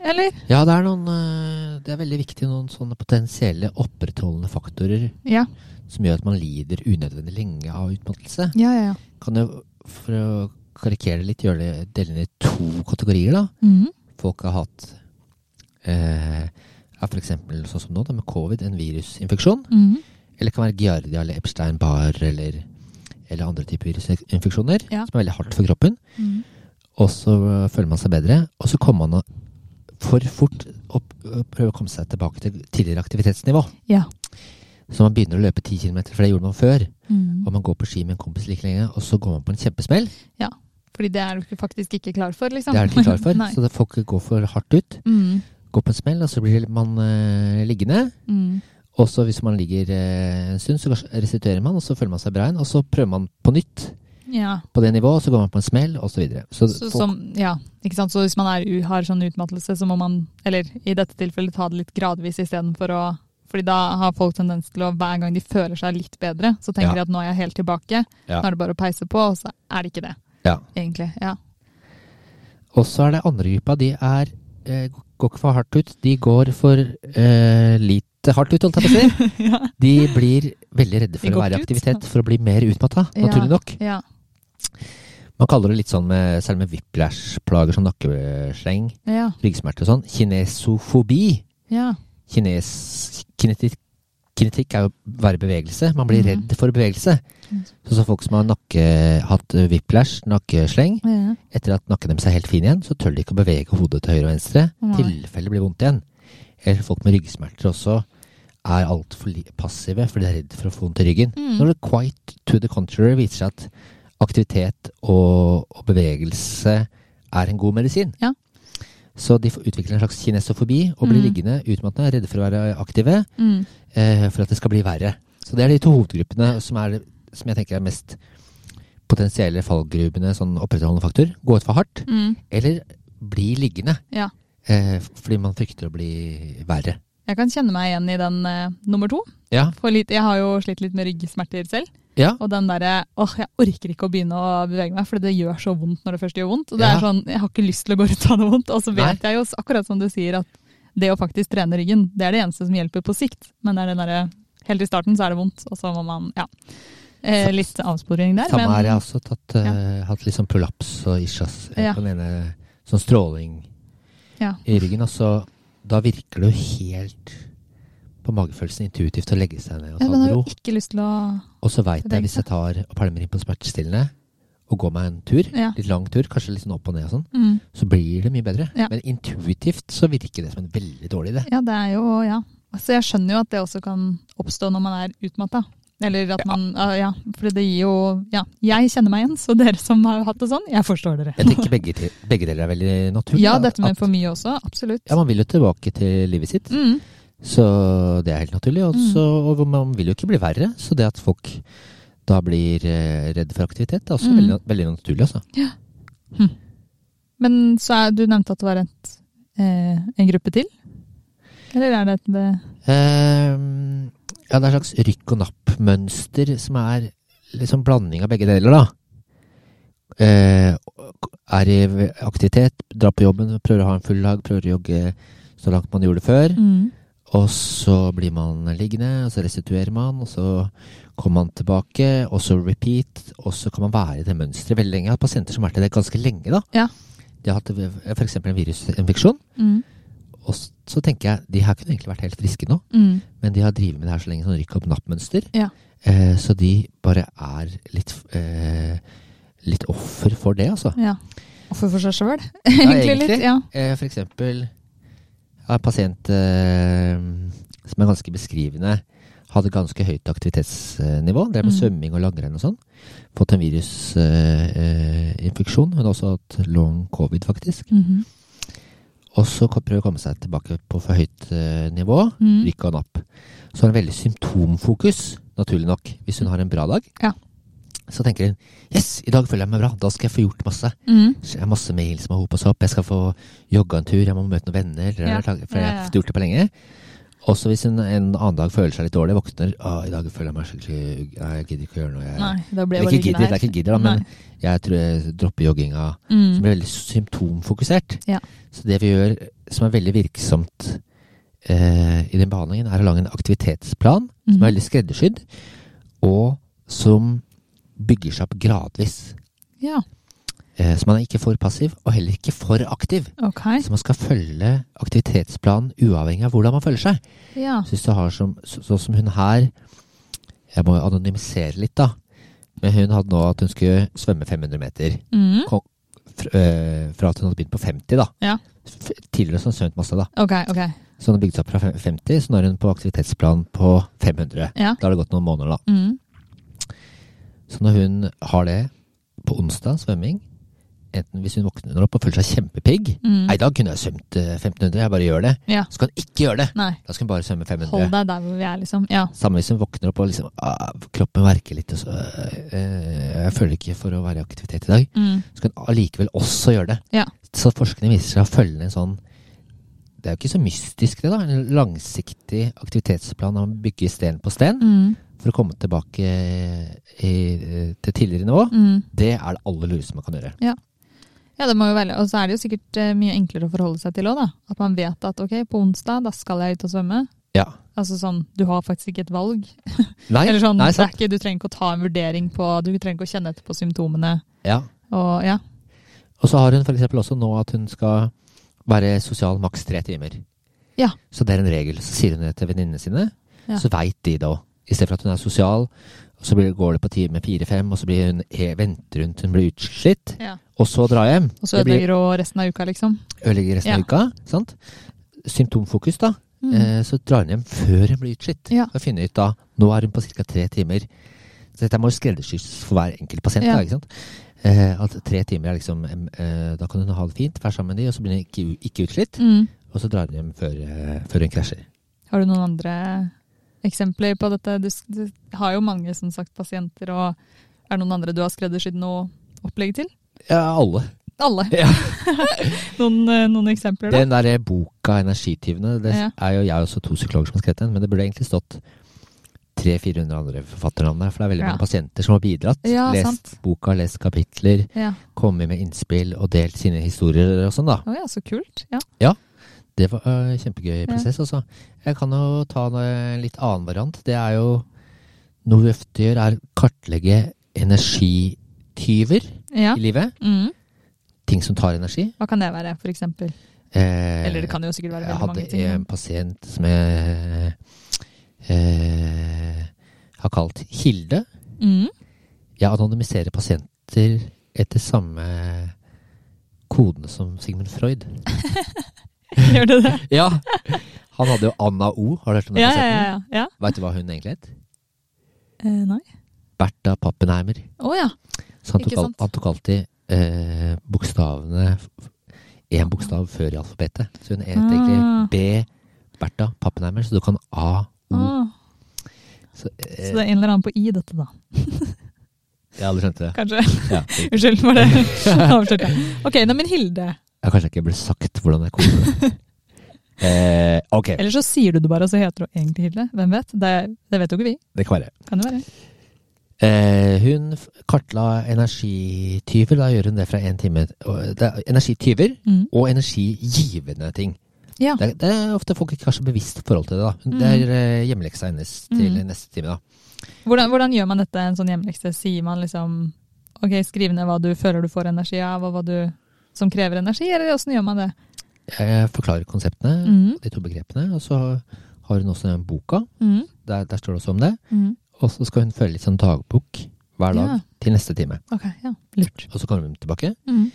[SPEAKER 1] eller?
[SPEAKER 2] Ja, det er noen eh, Det er veldig viktig noen sånne potensielle opprettholdende faktorer
[SPEAKER 1] Ja.
[SPEAKER 2] som gjør at man lider unødvendig lenge av utmattelse.
[SPEAKER 1] Ja, ja, ja.
[SPEAKER 2] Kan jo, for å karikere det litt, gjøre det dele ned i to kategorier, da.
[SPEAKER 1] Mhm.
[SPEAKER 2] Folk har hatt eh, ja, for eksempel sånn som nå, da, med covid, en virusinfeksjon.
[SPEAKER 1] Mhm.
[SPEAKER 2] Eller det kan være giardia eller Epstein-Barr eller, eller andre typer virusinfeksjoner
[SPEAKER 1] Ja.
[SPEAKER 2] som er veldig hardt for kroppen.
[SPEAKER 1] Mhm.
[SPEAKER 2] Og så øh, føler man seg bedre, og så kommer man å- for fort opp, øh, prøve å komme seg tilbake til tidligere aktivitetsnivå.
[SPEAKER 1] Ja.
[SPEAKER 2] Så man begynner å løpe 10 km, for det gjorde man før.
[SPEAKER 1] Mhm.
[SPEAKER 2] Og man går på ski med en kompis like lenge, og så går man på en kjempesmell.
[SPEAKER 1] Fordi det er du ikke- faktisk ikke klar for, liksom.
[SPEAKER 2] Det er du ikke klar for,
[SPEAKER 1] Nei.
[SPEAKER 2] så det får ikke gå for hardt ut.
[SPEAKER 1] Mhm.
[SPEAKER 2] Går på en smell, og så blir man øh, liggende.
[SPEAKER 1] Mhm.
[SPEAKER 2] Og så hvis man ligger øh, en stund, så kanskje restituerer man, og så føler man seg bra igjen. Og så prøver man på nytt
[SPEAKER 1] Ja.
[SPEAKER 2] på det nivået, og så går man på en smell, og så videre. Så,
[SPEAKER 1] Så,
[SPEAKER 2] folk-
[SPEAKER 1] som, ja, ikke sant? så hvis man er, u- har sånn utmattelse, så må man, eller i dette tilfellet, ta det litt gradvis istedenfor å fordi da har folk tendens til å hver gang de føler seg litt bedre, så tenker
[SPEAKER 2] Ja.
[SPEAKER 1] de at nå er jeg helt tilbake.
[SPEAKER 2] Ja.
[SPEAKER 1] Nå er det bare å peise på, og så er det ikke det.
[SPEAKER 2] Ja.
[SPEAKER 1] Egentlig. Ja.
[SPEAKER 2] Og så er det andre gruppa, de er eh, går ikke for hardt ut, de går for eh, lite hardt ut, holdt jeg på å si.
[SPEAKER 1] ja.
[SPEAKER 2] De blir veldig redde
[SPEAKER 1] De
[SPEAKER 2] for å
[SPEAKER 1] går
[SPEAKER 2] være i
[SPEAKER 1] ikke ut.
[SPEAKER 2] aktivitet, for å bli mer utmatta,
[SPEAKER 1] Ja.
[SPEAKER 2] naturlig nok.
[SPEAKER 1] ja.
[SPEAKER 2] Man kaller det litt sånn med, selv med whiplash-plager som nakkesleng,
[SPEAKER 1] Ja.
[SPEAKER 2] ryggsmerter og sånn, kinesofobi.
[SPEAKER 1] Ja.
[SPEAKER 2] Kines, kinetikk, kinetikk er jo være bevegelse, man blir
[SPEAKER 1] Mhm.
[SPEAKER 2] redd for bevegelse. Så, så folk som har nakke, hatt eh, whiplash, nakkesleng,
[SPEAKER 1] ja.
[SPEAKER 2] Etter at nakken deres er helt fin igjen, så tør de ikke å bevege hodet til høyre og venstre.
[SPEAKER 1] Nei.
[SPEAKER 2] Tilfelle blir vondt igjen. Eller folk med ryggsmerter også er altfor li- passive, for de er redd for å få vondt i ryggen.
[SPEAKER 1] Mm.
[SPEAKER 2] Når det quite to the contrary viser seg at aktivitet og, og bevegelse er en god medisin.
[SPEAKER 1] Ja.
[SPEAKER 2] Så de får- utvikler en slags kinesofobi og blir
[SPEAKER 1] Mm.
[SPEAKER 2] liggende utmattende, redde for å være aktive,
[SPEAKER 1] Mm.
[SPEAKER 2] eh, for at det skal bli verre. Så det er de to hovedgruppene som, er, som jeg tenker er mest potensielle fallgrubene, sånn opprettholdende faktor. Gå ut for hardt,
[SPEAKER 1] Mm.
[SPEAKER 2] eller bli liggende.
[SPEAKER 1] Ja.
[SPEAKER 2] Eh, fordi man frykter å bli verre.
[SPEAKER 1] Jeg kan kjenne meg igjen i den eh, nummer to.
[SPEAKER 2] Ja.
[SPEAKER 1] For litt, jeg har jo slitt litt med ryggsmerter selv.
[SPEAKER 2] Ja.
[SPEAKER 1] Og den derre åh, jeg orker ikke å begynne å bevege meg, for det gjør så vondt når det først gjør vondt. Og det
[SPEAKER 2] Ja.
[SPEAKER 1] er sånn, jeg har ikke lyst til å gå rundt og ha det vondt. Og så
[SPEAKER 2] Nei.
[SPEAKER 1] vet jeg jo, akkurat som du sier, at det å faktisk trene ryggen, det er det eneste som hjelper på sikt. Men det er den derre Helt i starten så er det vondt, og så må man Ja. Eh,
[SPEAKER 2] Sa-
[SPEAKER 1] litt avsporing der,
[SPEAKER 2] Samme har jeg
[SPEAKER 1] men
[SPEAKER 2] også tatt, eh, hatt litt sånn prolaps og ischias eh,
[SPEAKER 1] Ja.
[SPEAKER 2] på den ene sånn stråling
[SPEAKER 1] Ja.
[SPEAKER 2] i ryggen. Og så da virker det jo helt på magefølelsen intuitivt å legge seg ned og
[SPEAKER 1] Ja,
[SPEAKER 2] ta
[SPEAKER 1] man
[SPEAKER 2] det
[SPEAKER 1] har
[SPEAKER 2] med
[SPEAKER 1] jo
[SPEAKER 2] ro.
[SPEAKER 1] ikke lyst til å
[SPEAKER 2] Og så veit
[SPEAKER 1] bevege
[SPEAKER 2] jeg hvis jeg tar og pælmer inn på smertestillende og går meg en tur,
[SPEAKER 1] Ja.
[SPEAKER 2] litt lang tur, kanskje litt sånn opp og ned og sånn,
[SPEAKER 1] mm.
[SPEAKER 2] så blir det mye bedre.
[SPEAKER 1] Ja.
[SPEAKER 2] Men intuitivt så virker det som en veldig dårlig idé.
[SPEAKER 1] Ja, det er jo Ja. Altså, jeg skjønner jo at det også kan oppstå når man er utmatta. Eller at man ah, Ja, for det gir jo Ja, jeg kjenner meg igjen, så dere som har hatt det sånn, jeg forstår dere.
[SPEAKER 2] Jeg tenker begge, til- begge deler er veldig naturlig.
[SPEAKER 1] Ja,
[SPEAKER 2] da,
[SPEAKER 1] dette
[SPEAKER 2] at-
[SPEAKER 1] med for mye også. Absolutt.
[SPEAKER 2] Ja, man vil jo tilbake til livet sitt,
[SPEAKER 1] Mm,
[SPEAKER 2] så det er helt naturlig. Og, så, og man vil jo ikke bli verre, så det at folk da blir eh, redd for aktivitet, er også
[SPEAKER 1] Mm.
[SPEAKER 2] veldig, veldig naturlig. Altså.
[SPEAKER 1] Men så er, du nevnte at det var et, eh, en gruppe til? Eller er det et eh,
[SPEAKER 2] Ehm, ja, det er et slags rykk og napp-mønster som er liksom blanding av begge deler, da. Eh, er i aktivitet, drar på jobben, prøver å ha en full dag, prøver å jogge så langt man gjorde før.
[SPEAKER 1] mm,
[SPEAKER 2] Og så blir man liggende, og så restituerer man, og så kommer man tilbake, og så repeat, og så kan man være i det mønsteret veldig lenge. Jeg har hatt pasienter som har vært i det ganske lenge, da.
[SPEAKER 1] Ja.
[SPEAKER 2] De har hatt f.eks. en virusinfeksjon,
[SPEAKER 1] mm,
[SPEAKER 2] Og s- så tenker jeg, de her kunne egentlig vært helt friske nå,
[SPEAKER 1] Mm.
[SPEAKER 2] men de har drevet med det her så lenge, sånn rykk opp napp-mønster.
[SPEAKER 1] Ja.
[SPEAKER 2] Eh, så de bare er litt, f- eh, litt offer for det, altså.
[SPEAKER 1] ja. Offer for seg sjøl, egentlig
[SPEAKER 2] egentlig.
[SPEAKER 1] litt. Ja.
[SPEAKER 2] Eh, for eksempel jeg har en pasient eh, som er ganske beskrivende. Hadde ganske høyt aktivitetsnivå. Drev med
[SPEAKER 1] Mm.
[SPEAKER 2] svømming og langrenn og sånn. Fått en eh, virusinfeksjon. Hun har også hatt long covid, faktisk.
[SPEAKER 1] Mhm.
[SPEAKER 2] Og så ko- prøver å komme seg tilbake på for høyt eh, nivå.
[SPEAKER 1] Mm.
[SPEAKER 2] Rykk og napp. Så har hun veldig symptomfokus, naturlig nok. Hvis hun har en bra dag,
[SPEAKER 1] Ja.
[SPEAKER 2] så tenker hun 'yes, i dag føler jeg meg bra', da skal jeg få gjort masse.
[SPEAKER 1] Mm.
[SPEAKER 2] Så Jeg har masse mail som har hopa seg opp. Jeg skal få jogga en tur, jeg må møte noen venner.
[SPEAKER 1] Ja.
[SPEAKER 2] For jeg
[SPEAKER 1] Ja,
[SPEAKER 2] har
[SPEAKER 1] ja.
[SPEAKER 2] fått gjort det på lenge. Også hvis hun en annen dag føler seg litt dårlig, våkner «Å, i dag føler jeg meg skikkelig Nei, jeg gidder ikke å gjøre noe. Jeg,
[SPEAKER 1] Nei, da ble jeg bare
[SPEAKER 2] Eller ikke gidder,
[SPEAKER 1] liggende
[SPEAKER 2] det er
[SPEAKER 1] her.
[SPEAKER 2] ikke gidder, da, men jeg tror jeg dropper jogginga.
[SPEAKER 1] Mm.
[SPEAKER 2] Som blir veldig symptomfokusert.
[SPEAKER 1] Ja.
[SPEAKER 2] Så det vi gjør som er veldig virksomt eh, i den behandlingen, er å lage en aktivitetsplan som
[SPEAKER 1] Mhm.
[SPEAKER 2] er veldig skreddersydd, og som bygger seg opp gradvis.
[SPEAKER 1] Ja,
[SPEAKER 2] Eh, så man er ikke for passiv, og heller ikke for aktiv.
[SPEAKER 1] ok.
[SPEAKER 2] Så man skal følge aktivitetsplanen uavhengig av hvordan man føler seg.
[SPEAKER 1] Ja.
[SPEAKER 2] Synes det har som, så, sånn som hun her Jeg må jo anonymisere litt, da. Men hun hadde nå at hun skulle svømme 500 meter.
[SPEAKER 1] Mm.
[SPEAKER 2] Fra, øh, fra at hun hadde begynt på 50, da.
[SPEAKER 1] Ja.
[SPEAKER 2] F tidligere så har hun svømt masse, da.
[SPEAKER 1] Ok, ok.
[SPEAKER 2] Så hun har bygd seg opp fra fem- 50, så nå er hun på aktivitetsplan på 500.
[SPEAKER 1] Ja.
[SPEAKER 2] Da har det gått noen måneder, da.
[SPEAKER 1] Mm.
[SPEAKER 2] Så når hun har det på onsdag, svømming Enten hvis hun våkner opp og føler seg kjempepigg
[SPEAKER 1] Mm.
[SPEAKER 2] Nei, i dag kunne jeg svømt øh, 1500, jeg bare gjør det.
[SPEAKER 1] Ja.
[SPEAKER 2] Så kan hun ikke gjøre det!
[SPEAKER 1] Nei,
[SPEAKER 2] Da skal hun bare svømme 500.
[SPEAKER 1] hold deg der hvor vi er, liksom. Ja.
[SPEAKER 2] Samme hvis hun våkner opp og liksom ah, Kroppen verker litt og så eh, Jeg føler ikke for å være i aktivitet i dag.
[SPEAKER 1] Mm.
[SPEAKER 2] Så kan hun allikevel også gjøre det.
[SPEAKER 1] Ja.
[SPEAKER 2] Så forskning viser seg å følge en sånn Det er jo ikke så mystisk, det, da. En langsiktig aktivitetsplan om å bygge sten på sten
[SPEAKER 1] Mm.
[SPEAKER 2] for å komme tilbake eh, i, til tidligere nivå.
[SPEAKER 1] Mm.
[SPEAKER 2] Det er det aller lureste man kan gjøre.
[SPEAKER 1] Ja, det må jo velge. Og så er det jo sikkert eh, mye enklere å forholde seg til òg, da. At man vet at ok, på onsdag da skal jeg ut og svømme.
[SPEAKER 2] Ja.
[SPEAKER 1] Altså sånn, du har faktisk ikke et valg.
[SPEAKER 2] Nei,
[SPEAKER 1] Eller sånn,
[SPEAKER 2] nei
[SPEAKER 1] det er
[SPEAKER 2] sant.
[SPEAKER 1] ikke, du trenger ikke å ta en vurdering på Du trenger ikke å kjenne etter på symptomene.
[SPEAKER 2] Ja.
[SPEAKER 1] Og ja.
[SPEAKER 2] Og så har hun f.eks. også nå at hun skal være sosial maks tre timer.
[SPEAKER 1] Ja.
[SPEAKER 2] Så det er en regel. Så sier hun det til venninnene sine,
[SPEAKER 1] Ja.
[SPEAKER 2] så veit de det òg. I stedet for at hun er sosial, og så blir, går det på time fire-fem, og så blir hun, venter hun til hun blir utslitt, og så dra hjem.
[SPEAKER 1] Og så
[SPEAKER 2] Det blir-
[SPEAKER 1] ødelegger du resten av uka, liksom.
[SPEAKER 2] ødelegger
[SPEAKER 1] Ja.
[SPEAKER 2] resten av uka. Sant? Symptomfokus, da.
[SPEAKER 1] Mm.
[SPEAKER 2] Eh, så drar hun hjem før hun blir utslitt.
[SPEAKER 1] Ja.
[SPEAKER 2] Og finner ut da, Nå er hun på ca. tre timer. Så dette må jo skreddersys for hver enkelt pasient.
[SPEAKER 1] Ja.
[SPEAKER 2] Da, ikke sant? Eh, at tre timer er liksom em, eh, Da kan hun ha det fint, være sammen med de, og så blir hun ikke, ikke utslitt.
[SPEAKER 1] Mm.
[SPEAKER 2] Og så drar hun hjem før, eh, før hun krasjer.
[SPEAKER 1] Har du noen andre eksempler på dette? Du, s- du har jo mange som sagt pasienter, og er det noen andre du har skreddersydd noe opplegg til?
[SPEAKER 2] Ja, alle.
[SPEAKER 1] Alle.
[SPEAKER 2] Ja.
[SPEAKER 1] noen, eh, noen eksempler, da?
[SPEAKER 2] Den der eh, boka 'Energityvene' det
[SPEAKER 1] Ja.
[SPEAKER 2] er jo jeg og også to psykologer som har skrevet den, men det burde egentlig stått 300-400 andre forfatternavn der, for det er veldig
[SPEAKER 1] Ja.
[SPEAKER 2] mange pasienter som har bidratt.
[SPEAKER 1] Ja,
[SPEAKER 2] lest
[SPEAKER 1] sant.
[SPEAKER 2] boka, lest kapitler.
[SPEAKER 1] Ja.
[SPEAKER 2] kommet med innspill og delt sine historier og sånn, da.
[SPEAKER 1] Å ja, så kult. Ja.
[SPEAKER 2] Det var øh, kjempegøy prosess, altså. Jeg kan jo ta en øh, litt annen variant. Det er jo Noe vi ofte gjør, er kartlegge energityver
[SPEAKER 1] ja.
[SPEAKER 2] i livet.
[SPEAKER 1] Mm.
[SPEAKER 2] Ting som tar energi.
[SPEAKER 1] Hva kan det være, for eksempel?
[SPEAKER 2] Eh,
[SPEAKER 1] Eller det kan jo sikkert være
[SPEAKER 2] Jeg
[SPEAKER 1] veldig mange
[SPEAKER 2] hadde eh,
[SPEAKER 1] ting.
[SPEAKER 2] en pasient som jeg eh, har kalt Hilde.
[SPEAKER 1] Mm.
[SPEAKER 2] Jeg anonymiserer pasienter etter samme kodene som Sigmund Freud.
[SPEAKER 1] Gjør du det?
[SPEAKER 2] Ja. Han hadde jo Anna O. Har du hørt om den
[SPEAKER 1] Ja, ja,
[SPEAKER 2] kassetten?
[SPEAKER 1] ja. ja.
[SPEAKER 2] Veit du hva hun egentlig het?
[SPEAKER 1] Eh, nei.
[SPEAKER 2] Bertha Pappenheimer.
[SPEAKER 1] Å ja.
[SPEAKER 2] Så han tok,
[SPEAKER 1] Ikke
[SPEAKER 2] al
[SPEAKER 1] sant.
[SPEAKER 2] han tok alltid eh, bokstavene én bokstav før i alfabetet. Så hun het
[SPEAKER 1] Ah.
[SPEAKER 2] egentlig B. Bertha Pappenheimer, så du kan A. O.
[SPEAKER 1] Ah,
[SPEAKER 2] Så,
[SPEAKER 1] så
[SPEAKER 2] eh,
[SPEAKER 1] det er en eller annen på i dette, da.
[SPEAKER 2] ja, du skjønte det.
[SPEAKER 1] Kanskje.
[SPEAKER 2] Ja.
[SPEAKER 1] Unnskyld for det. Avslørte jeg. Ok, nei, men Hilde.
[SPEAKER 2] Jeg har kanskje ikke ble sagt hvordan jeg kom til det. Eh, ok,
[SPEAKER 1] Eller så sier du det bare, og så heter du egentlig Hilde. Hvem vet? Det, det vet jo ikke vi.
[SPEAKER 2] det kan være.
[SPEAKER 1] Kan det være.
[SPEAKER 2] Eh, hun f- kartla energityver. Da gjør hun det fra én time. Og Det er energityver
[SPEAKER 1] Mm.
[SPEAKER 2] og energigivende ting.
[SPEAKER 1] Ja.
[SPEAKER 2] Det, er- det er ofte folk ikke har så bevisst forhold til det. da. Hun- Det er eh, hjemmeleksa hennes til
[SPEAKER 1] Mm.
[SPEAKER 2] neste time. da.
[SPEAKER 1] Hvordan, hvordan gjør man dette, en sånn hjemmelekse? Sier man liksom Ok, skriv ned hva du føler du får energi av, og hva du som krever energi, eller åssen gjør man det?
[SPEAKER 2] Jeg forklarer konseptene,
[SPEAKER 1] Mm.
[SPEAKER 2] de to begrepene. Og så har hun også den boka.
[SPEAKER 1] Mm.
[SPEAKER 2] Der, der står det også om det.
[SPEAKER 1] Mm.
[SPEAKER 2] Og så skal hun føre litt sånn dagbok hver dag
[SPEAKER 1] Ja.
[SPEAKER 2] til neste time.
[SPEAKER 1] Ok, ja. Lurt.
[SPEAKER 2] Og så kommer hun tilbake.
[SPEAKER 1] Mm.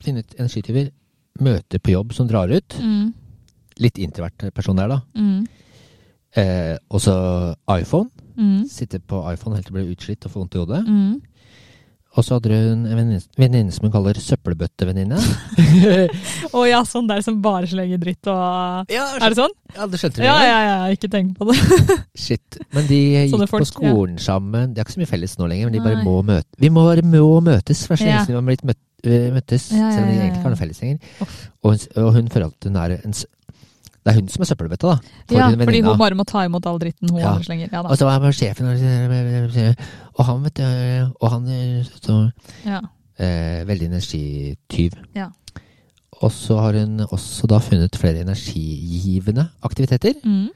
[SPEAKER 2] Finne ut energityver. Møter på jobb som drar ut.
[SPEAKER 1] Mm.
[SPEAKER 2] Litt introvert person der, da.
[SPEAKER 1] Mm.
[SPEAKER 2] Eh, og så iPhone.
[SPEAKER 1] Mm.
[SPEAKER 2] Sitte på iPhone helt til du blir utslitt og får vondt i hodet.
[SPEAKER 1] Mm.
[SPEAKER 2] Og så hadde hun en venninne- venninne som hun kaller søppelbøttevenninne.
[SPEAKER 1] Å ja, sånn der som bare slenger dritt og
[SPEAKER 2] ja,
[SPEAKER 1] Er det sånn?
[SPEAKER 2] ja, det skjønte du.
[SPEAKER 1] Ja,
[SPEAKER 2] det?
[SPEAKER 1] ja, ja, ikke tenk på det.
[SPEAKER 2] Shit. Men de
[SPEAKER 1] Sånne
[SPEAKER 2] gikk
[SPEAKER 1] folk,
[SPEAKER 2] på skolen sammen. De har ikke så mye felles nå lenger, men de bare
[SPEAKER 1] Nei.
[SPEAKER 2] må møte. Vi må, bare må møtes. Hver
[SPEAKER 1] Ja.
[SPEAKER 2] eneste gang vi har blitt møtt, øh, møttes,
[SPEAKER 1] Ja, ja,
[SPEAKER 2] selv om de
[SPEAKER 1] ja,
[SPEAKER 2] egentlig ikke
[SPEAKER 1] ja.
[SPEAKER 2] har noe felles lenger. Og hun, og hun føler at hun er en s- Det er hun som er søppelbøtta, da. For
[SPEAKER 1] Ja,
[SPEAKER 2] hun
[SPEAKER 1] fordi
[SPEAKER 2] venninna.
[SPEAKER 1] hun bare må ta imot all dritten hun
[SPEAKER 2] Ja.
[SPEAKER 1] slenger. Ja da.
[SPEAKER 2] Og så var jeg med sjefen, og- og han, vet du Og han øh, så,
[SPEAKER 1] Ja.
[SPEAKER 2] eh, Veldig energityv.
[SPEAKER 1] Ja.
[SPEAKER 2] Og så har hun også da funnet flere energigivende aktiviteter.
[SPEAKER 1] Mm.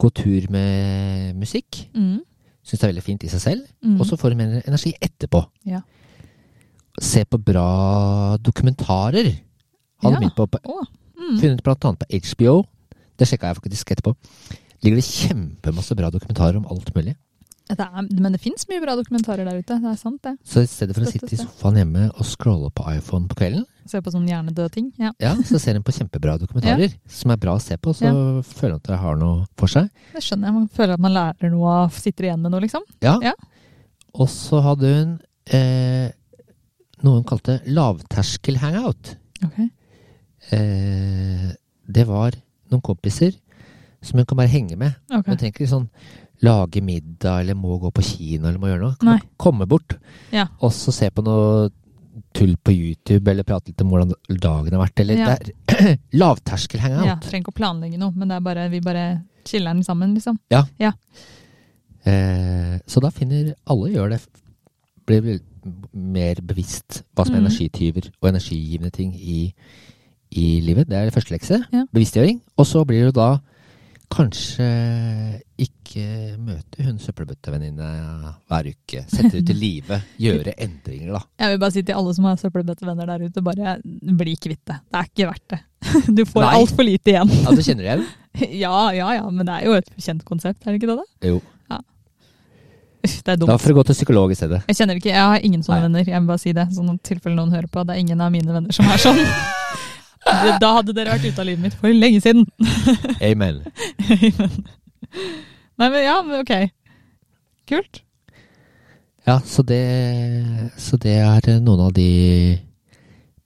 [SPEAKER 2] Gå tur med musikk.
[SPEAKER 1] Mm.
[SPEAKER 2] Syns det er veldig fint i seg selv.
[SPEAKER 1] Mm.
[SPEAKER 2] Og så får du mer energi etterpå.
[SPEAKER 1] Ja.
[SPEAKER 2] Se på bra dokumentarer. Hadde
[SPEAKER 1] Ja.
[SPEAKER 2] begynt på, på
[SPEAKER 1] Å, mm.
[SPEAKER 2] funnet blant annet på HBO. Det sjekka jeg faktisk etterpå. Ligger det kjempemasse bra dokumentarer om alt mulig.
[SPEAKER 1] Det er, men det fins mye bra dokumentarer der ute. Det er sant, det.
[SPEAKER 2] Så i stedet for å
[SPEAKER 1] Støttes
[SPEAKER 2] sitte i
[SPEAKER 1] det.
[SPEAKER 2] sofaen hjemme og scrolle på iPhone på kvelden,
[SPEAKER 1] Se på sånne hjernedøde ting. Ja.
[SPEAKER 2] ja, så ser en på kjempebra dokumentarer som er bra å se på. Så føler en at det har noe for seg.
[SPEAKER 1] Det skjønner jeg. Man føler at man lærer noe og sitter igjen med noe, liksom.
[SPEAKER 2] Ja.
[SPEAKER 1] Ja.
[SPEAKER 2] Og så hadde hun eh, noe hun kalte lavterskel hangout.
[SPEAKER 1] Ok.
[SPEAKER 2] Eh, det var noen kompiser som hun kan bare henge med.
[SPEAKER 1] Ok.
[SPEAKER 2] Hun trenger ikke sånn lage middag eller må gå på kino eller må gjøre noe. Kan
[SPEAKER 1] Nei.
[SPEAKER 2] bare komme bort
[SPEAKER 1] Ja.
[SPEAKER 2] og så se på noe tull på YouTube eller prate litt om hvordan dagen har vært. Eller
[SPEAKER 1] Ja.
[SPEAKER 2] det er lavterskel hangout.
[SPEAKER 1] Ja, trenger ikke å planlegge noe, men det er bare, vi bare chiller den sammen, liksom.
[SPEAKER 2] Eh, så da finner alle gjør det. Blir vel mer bevisst hva som er
[SPEAKER 1] Mm.
[SPEAKER 2] energityver og energigivende ting i, i livet. Det er det første lekse.
[SPEAKER 1] Ja.
[SPEAKER 2] Bevisstgjøring. Og så blir det da kanskje ikke møte hun søppelbøttevenninna hver uke. Sette ut i livet. Gjøre endringer, da.
[SPEAKER 1] Jeg vil bare si til alle som har søppelbøttevenner der ute, bare bli kvitt det. Det er ikke verdt det. Du får
[SPEAKER 2] Nei.
[SPEAKER 1] altfor lite igjen.
[SPEAKER 2] Ja, du kjenner det igjen?
[SPEAKER 1] Ja, ja, ja, men det er jo et kjent konsept, er det ikke det? da?
[SPEAKER 2] Jo.
[SPEAKER 1] Uff, Det er
[SPEAKER 2] Da
[SPEAKER 1] dumt.
[SPEAKER 2] får du gå til psykolog i stedet.
[SPEAKER 1] Jeg kjenner ikke, jeg har ingen sånne
[SPEAKER 2] Nei.
[SPEAKER 1] venner, jeg vil bare si det. Sånn i tilfelle noen hører på, det er ingen av mine venner som er sånn. Det- Da hadde dere vært ute av livet mitt for lenge siden.
[SPEAKER 2] Amen.
[SPEAKER 1] Nei, men ja, men ok. Kult.
[SPEAKER 2] Ja, så det, så det er noen av de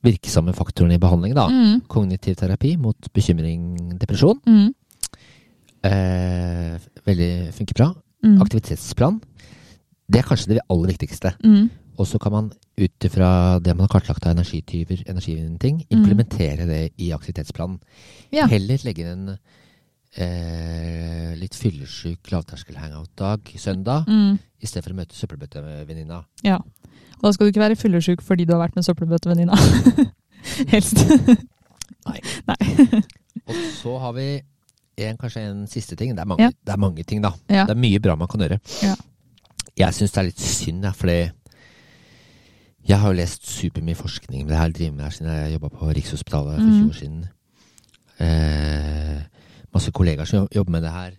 [SPEAKER 2] virksomme faktorene i behandling, da.
[SPEAKER 1] Mm,
[SPEAKER 2] Kognitiv terapi mot bekymring, depresjon.
[SPEAKER 1] mm,
[SPEAKER 2] Eh, veldig funker bra.
[SPEAKER 1] mm,
[SPEAKER 2] Aktivitetsplan. Det er kanskje det aller viktigste.
[SPEAKER 1] mm,
[SPEAKER 2] Og så kan man ut ifra det man har kartlagt av energityver, energigivende ting, implementere det i
[SPEAKER 1] Mm.
[SPEAKER 2] aktivitetsplanen.
[SPEAKER 1] Ja.
[SPEAKER 2] Heller legge inn en eh, litt fyllesyk lavterskel-hangout-dag søndag,
[SPEAKER 1] mm.
[SPEAKER 2] i stedet for å møte søppelbøttevenninna.
[SPEAKER 1] Ja. Og da skal du ikke være fyllesyk fordi du har vært med søppelbøttevenninna. Helst.
[SPEAKER 2] Og så har vi en, kanskje en siste ting. Det er mange,
[SPEAKER 1] Ja.
[SPEAKER 2] det er mange ting, da.
[SPEAKER 1] Ja.
[SPEAKER 2] Det er mye bra man kan gjøre.
[SPEAKER 1] Ja.
[SPEAKER 2] Jeg syns det er litt synd, ja, fordi jeg har jo lest supermye forskning med det her, driver med det her siden jeg jobba på Rikshospitalet for
[SPEAKER 1] Mhm.
[SPEAKER 2] 20 år siden. Eh, masse kollegaer som jo- jobber med det her.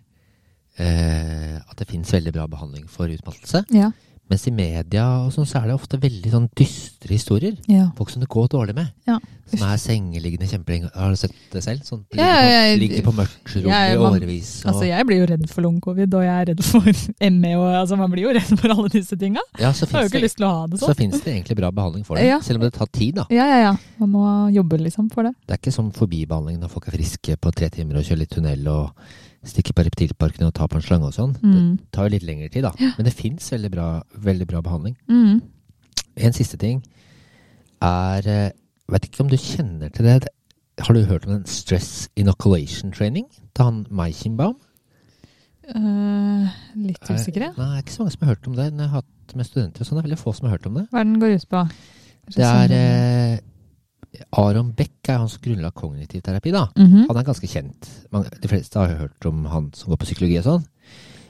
[SPEAKER 2] Eh, at det fins veldig bra behandling for utmattelse.
[SPEAKER 1] Ja.
[SPEAKER 2] Mens i media og sånn, så er det ofte veldig sånn dystre historier.
[SPEAKER 1] Ja.
[SPEAKER 2] Folk som det går dårlig med.
[SPEAKER 1] Ja.
[SPEAKER 2] Som er sengeliggende kjempelenge. Har du sett det selv? Sånn,
[SPEAKER 1] Ja, ja, ja.
[SPEAKER 2] ligger på mørkt rom
[SPEAKER 1] Ja, ja,
[SPEAKER 2] i
[SPEAKER 1] man-
[SPEAKER 2] årevis. Og,
[SPEAKER 1] Altså, jeg blir jo redd for long-covid, og jeg er redd for ME, og altså, man blir jo redd for alle disse tinga.
[SPEAKER 2] ja, så
[SPEAKER 1] Jeg har jo
[SPEAKER 2] finnes
[SPEAKER 1] ikke
[SPEAKER 2] det,
[SPEAKER 1] lyst til å ha det
[SPEAKER 2] så
[SPEAKER 1] sånn.
[SPEAKER 2] finnes det egentlig bra behandling for det.
[SPEAKER 1] Ja.
[SPEAKER 2] Selv om det tar tid, da.
[SPEAKER 1] Ja, ja, ja. Man må jobbe liksom for det.
[SPEAKER 2] Det er ikke som forbibehandling når folk er friske på tre timer og kjører litt tunnel og stikker på reptilparken og tar på en slange og sånn.
[SPEAKER 1] Mm.
[SPEAKER 2] Det tar jo litt lengre tid, da. Men det fins veldig, bra- veldig bra behandling.
[SPEAKER 1] Mm.
[SPEAKER 2] En siste ting er eh, Vet ikke om du kjenner til det. det- Har du hørt om den stress inoculation training til han Meichenbaum?
[SPEAKER 1] Eh, litt usikker,
[SPEAKER 2] Eh,
[SPEAKER 1] jeg.
[SPEAKER 2] Nei, det er ikke så mange som har hørt om det. Når jeg har hatt med studenter og sånn, det er veldig få som har hørt om det.
[SPEAKER 1] Hva er den går ut på?
[SPEAKER 2] Det
[SPEAKER 1] sånn
[SPEAKER 2] er eh, Aron Beck er han som grunnla kognitiv terapi, da.
[SPEAKER 1] Mhm.
[SPEAKER 2] Han er ganske kjent. Mange, de fleste har hørt om han som går på psykologi og sånn.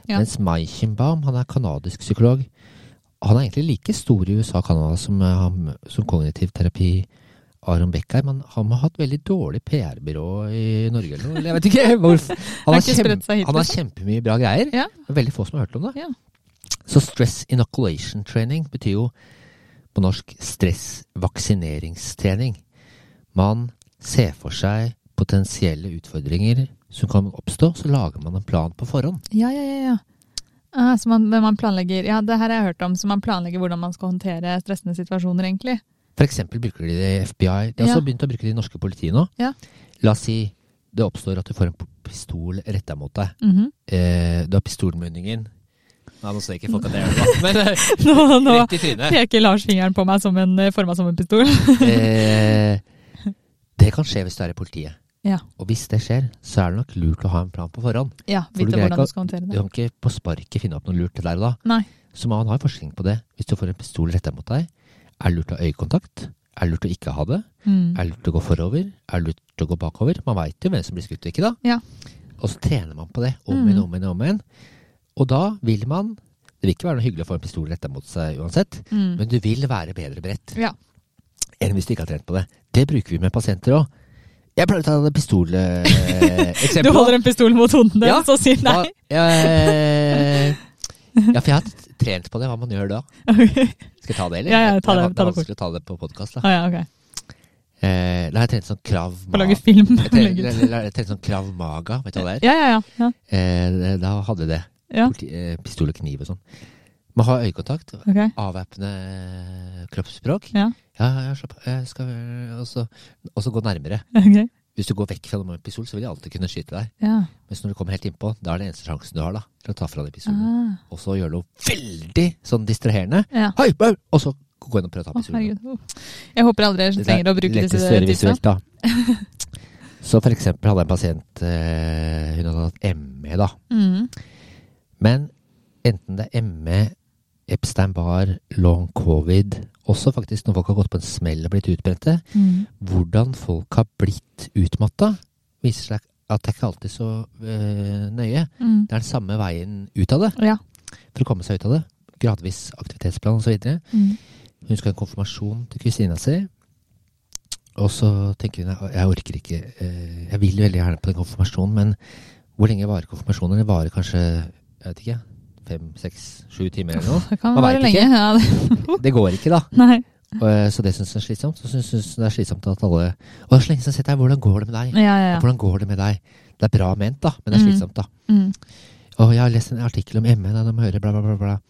[SPEAKER 1] Ja.
[SPEAKER 2] Mens Meichenbaum, han er kanadisk psykolog. Han er egentlig like stor i USA og Canada som, eh, han, som kognitiv terapi Aron Beck her, men han har hatt veldig dårlig PR-byrå i Norge eller noe. eller Jeg vet ikke hvorfor. Han
[SPEAKER 1] Har
[SPEAKER 2] har,
[SPEAKER 1] ikke spredt seg hit,
[SPEAKER 2] liksom. han har kjempemye bra greier.
[SPEAKER 1] Ja.
[SPEAKER 2] Det er veldig få som har hørt om det.
[SPEAKER 1] Ja.
[SPEAKER 2] Så stress inoculation training betyr jo på norsk stressvaksineringstrening. Man ser for seg potensielle utfordringer som kan oppstå, så lager man en plan på forhånd.
[SPEAKER 1] Ja, ja, ja. ja. Ah, så man, men man planlegger, ja, det her har jeg hørt om, så man planlegger hvordan man skal håndtere stressende situasjoner, egentlig.
[SPEAKER 2] For eksempel bruker de det i FBI. De har
[SPEAKER 1] Ja.
[SPEAKER 2] også begynt å bruke det i norske politiet nå.
[SPEAKER 1] Ja.
[SPEAKER 2] La oss si det oppstår at du får en p- pistol retta mot deg.
[SPEAKER 1] Mhm.
[SPEAKER 2] Eh, du har pistolmunningen. Nei, nå ser ikke folk at det er det, da. men eh,
[SPEAKER 1] Nå, nå
[SPEAKER 2] rett i trynet.
[SPEAKER 1] peker Lars fingeren på meg som en, forma som en pistol.
[SPEAKER 2] Eh, det kan skje hvis du er i politiet.
[SPEAKER 1] Ja.
[SPEAKER 2] Og hvis det skjer, så er det nok lurt å ha en plan på forhånd.
[SPEAKER 1] Ja,
[SPEAKER 2] For du
[SPEAKER 1] vite
[SPEAKER 2] greier
[SPEAKER 1] hvordan
[SPEAKER 2] ikke
[SPEAKER 1] du
[SPEAKER 2] at-
[SPEAKER 1] skal håndtere
[SPEAKER 2] Du
[SPEAKER 1] det.
[SPEAKER 2] kan ikke på sparket finne opp noe lurt der og da.
[SPEAKER 1] Nei.
[SPEAKER 2] Så man har forskning på det. Hvis du får en pistol retta mot deg, er det lurt å ha øyekontakt? Er det lurt å ikke ha det?
[SPEAKER 1] Mm.
[SPEAKER 2] Er det lurt å gå forover? Er det lurt å gå bakover? Man veit jo hvem som blir skutt og ikke, da.
[SPEAKER 1] Ja.
[SPEAKER 2] Og så trener man på det om
[SPEAKER 1] Mm.
[SPEAKER 2] igjen, om igjen, om igjen. Og da vil man Det vil ikke være noe hyggelig å få en pistol retta mot seg uansett,
[SPEAKER 1] Mm.
[SPEAKER 2] men du vil være bedre beredt
[SPEAKER 1] Ja.
[SPEAKER 2] enn hvis du ikke har trent på det. Det bruker vi med pasienter òg. Jeg pleier å ta eh, det pistoleksempel.
[SPEAKER 1] Du holder en pistol mot hodet
[SPEAKER 2] Ja.
[SPEAKER 1] deres og sier nei.
[SPEAKER 2] Ja, eh, ja, for jeg har trent på det, hva man gjør da.
[SPEAKER 1] Ok.
[SPEAKER 2] Skal jeg ta det, eller?
[SPEAKER 1] Ja, ja, ta det,
[SPEAKER 2] er van-
[SPEAKER 1] ta det
[SPEAKER 2] er vanskelig å ta det på podkast, da.
[SPEAKER 1] Ah, ja, ok.
[SPEAKER 2] Eh, da har jeg trent sånn krav
[SPEAKER 1] Få
[SPEAKER 2] Ma-
[SPEAKER 1] lage film.
[SPEAKER 2] Jeg tre-
[SPEAKER 1] Legge ut.
[SPEAKER 2] eller- eller jeg trente sånn krav maga, vet du hva det er?
[SPEAKER 1] Ja, ja, ja. ja.
[SPEAKER 2] Eh, da hadde jeg det.
[SPEAKER 1] ja.
[SPEAKER 2] Politi, eh, pistol og kniv og sånn. Man har øyekontakt,
[SPEAKER 1] Ok.
[SPEAKER 2] avvæpne kroppsspråk.
[SPEAKER 1] Ja.
[SPEAKER 2] Ja, ja, slapp av, jeg skal vel- Og så og så gå nærmere.
[SPEAKER 1] Ok.
[SPEAKER 2] Hvis du går vekk fra noen med en pistol, så vil de alltid kunne skyte deg.
[SPEAKER 1] Ja.
[SPEAKER 2] Mens når du kommer helt innpå, da er det eneste sjansen du har da, til å ta fra deg pistolen.
[SPEAKER 1] Ah.
[SPEAKER 2] Og så gjøre noe veldig sånn distraherende.
[SPEAKER 1] ja.
[SPEAKER 2] Hei, bau! Og så gå inn og prøve å ta
[SPEAKER 1] Å,
[SPEAKER 2] pistolen.
[SPEAKER 1] herregud. Uff. Jeg håper aldri jeg trenger å bruke
[SPEAKER 2] Det er
[SPEAKER 1] disse
[SPEAKER 2] lettest å
[SPEAKER 1] tipsene.
[SPEAKER 2] gjøre visuelt, da. Så for eksempel hadde jeg en pasient eh, Hun hadde hatt ME, da.
[SPEAKER 1] Mm.
[SPEAKER 2] Men enten det er ME, Epstein-Barr, long covid Også faktisk når folk har gått på en smell og blitt utbrente.
[SPEAKER 1] Mm.
[SPEAKER 2] Hvordan folk har blitt utmatta, viser seg at det er ikke alltid så eh, nøye.
[SPEAKER 1] Mm.
[SPEAKER 2] Det er den samme veien ut av det.
[SPEAKER 1] Ja.
[SPEAKER 2] For å komme seg ut av det. Gradvis aktivitetsplan osv.
[SPEAKER 1] Mm.
[SPEAKER 2] Hun skal ha en konfirmasjon til kusina si. Og så tenker hun "Nei, jeg orker ikke eh, Jeg vil veldig gjerne på den konfirmasjonen, men hvor lenge varer konfirmasjonen? Det varer kanskje jeg vet ikke, fem, seks, sju timer eller noe.
[SPEAKER 1] Det kan
[SPEAKER 2] Man
[SPEAKER 1] vare
[SPEAKER 2] vet
[SPEAKER 1] lenge.
[SPEAKER 2] ikke.
[SPEAKER 1] Ja, det,
[SPEAKER 2] Det går ikke, da.
[SPEAKER 1] nei.
[SPEAKER 2] Og, eh, Så det syns hun er slitsomt. Så syns hun det er slitsomt at alle Og det er så lenge siden jeg har sett deg, hvordan går det med deg?
[SPEAKER 1] Ja, ja, ja.
[SPEAKER 2] Hvordan går det med deg? Det er bra ment, da, men det er
[SPEAKER 1] Mm.
[SPEAKER 2] slitsomt, da.
[SPEAKER 1] Mm.
[SPEAKER 2] Og jeg har lest en artikkel om ME, da de hører bla, bla, bla, bla.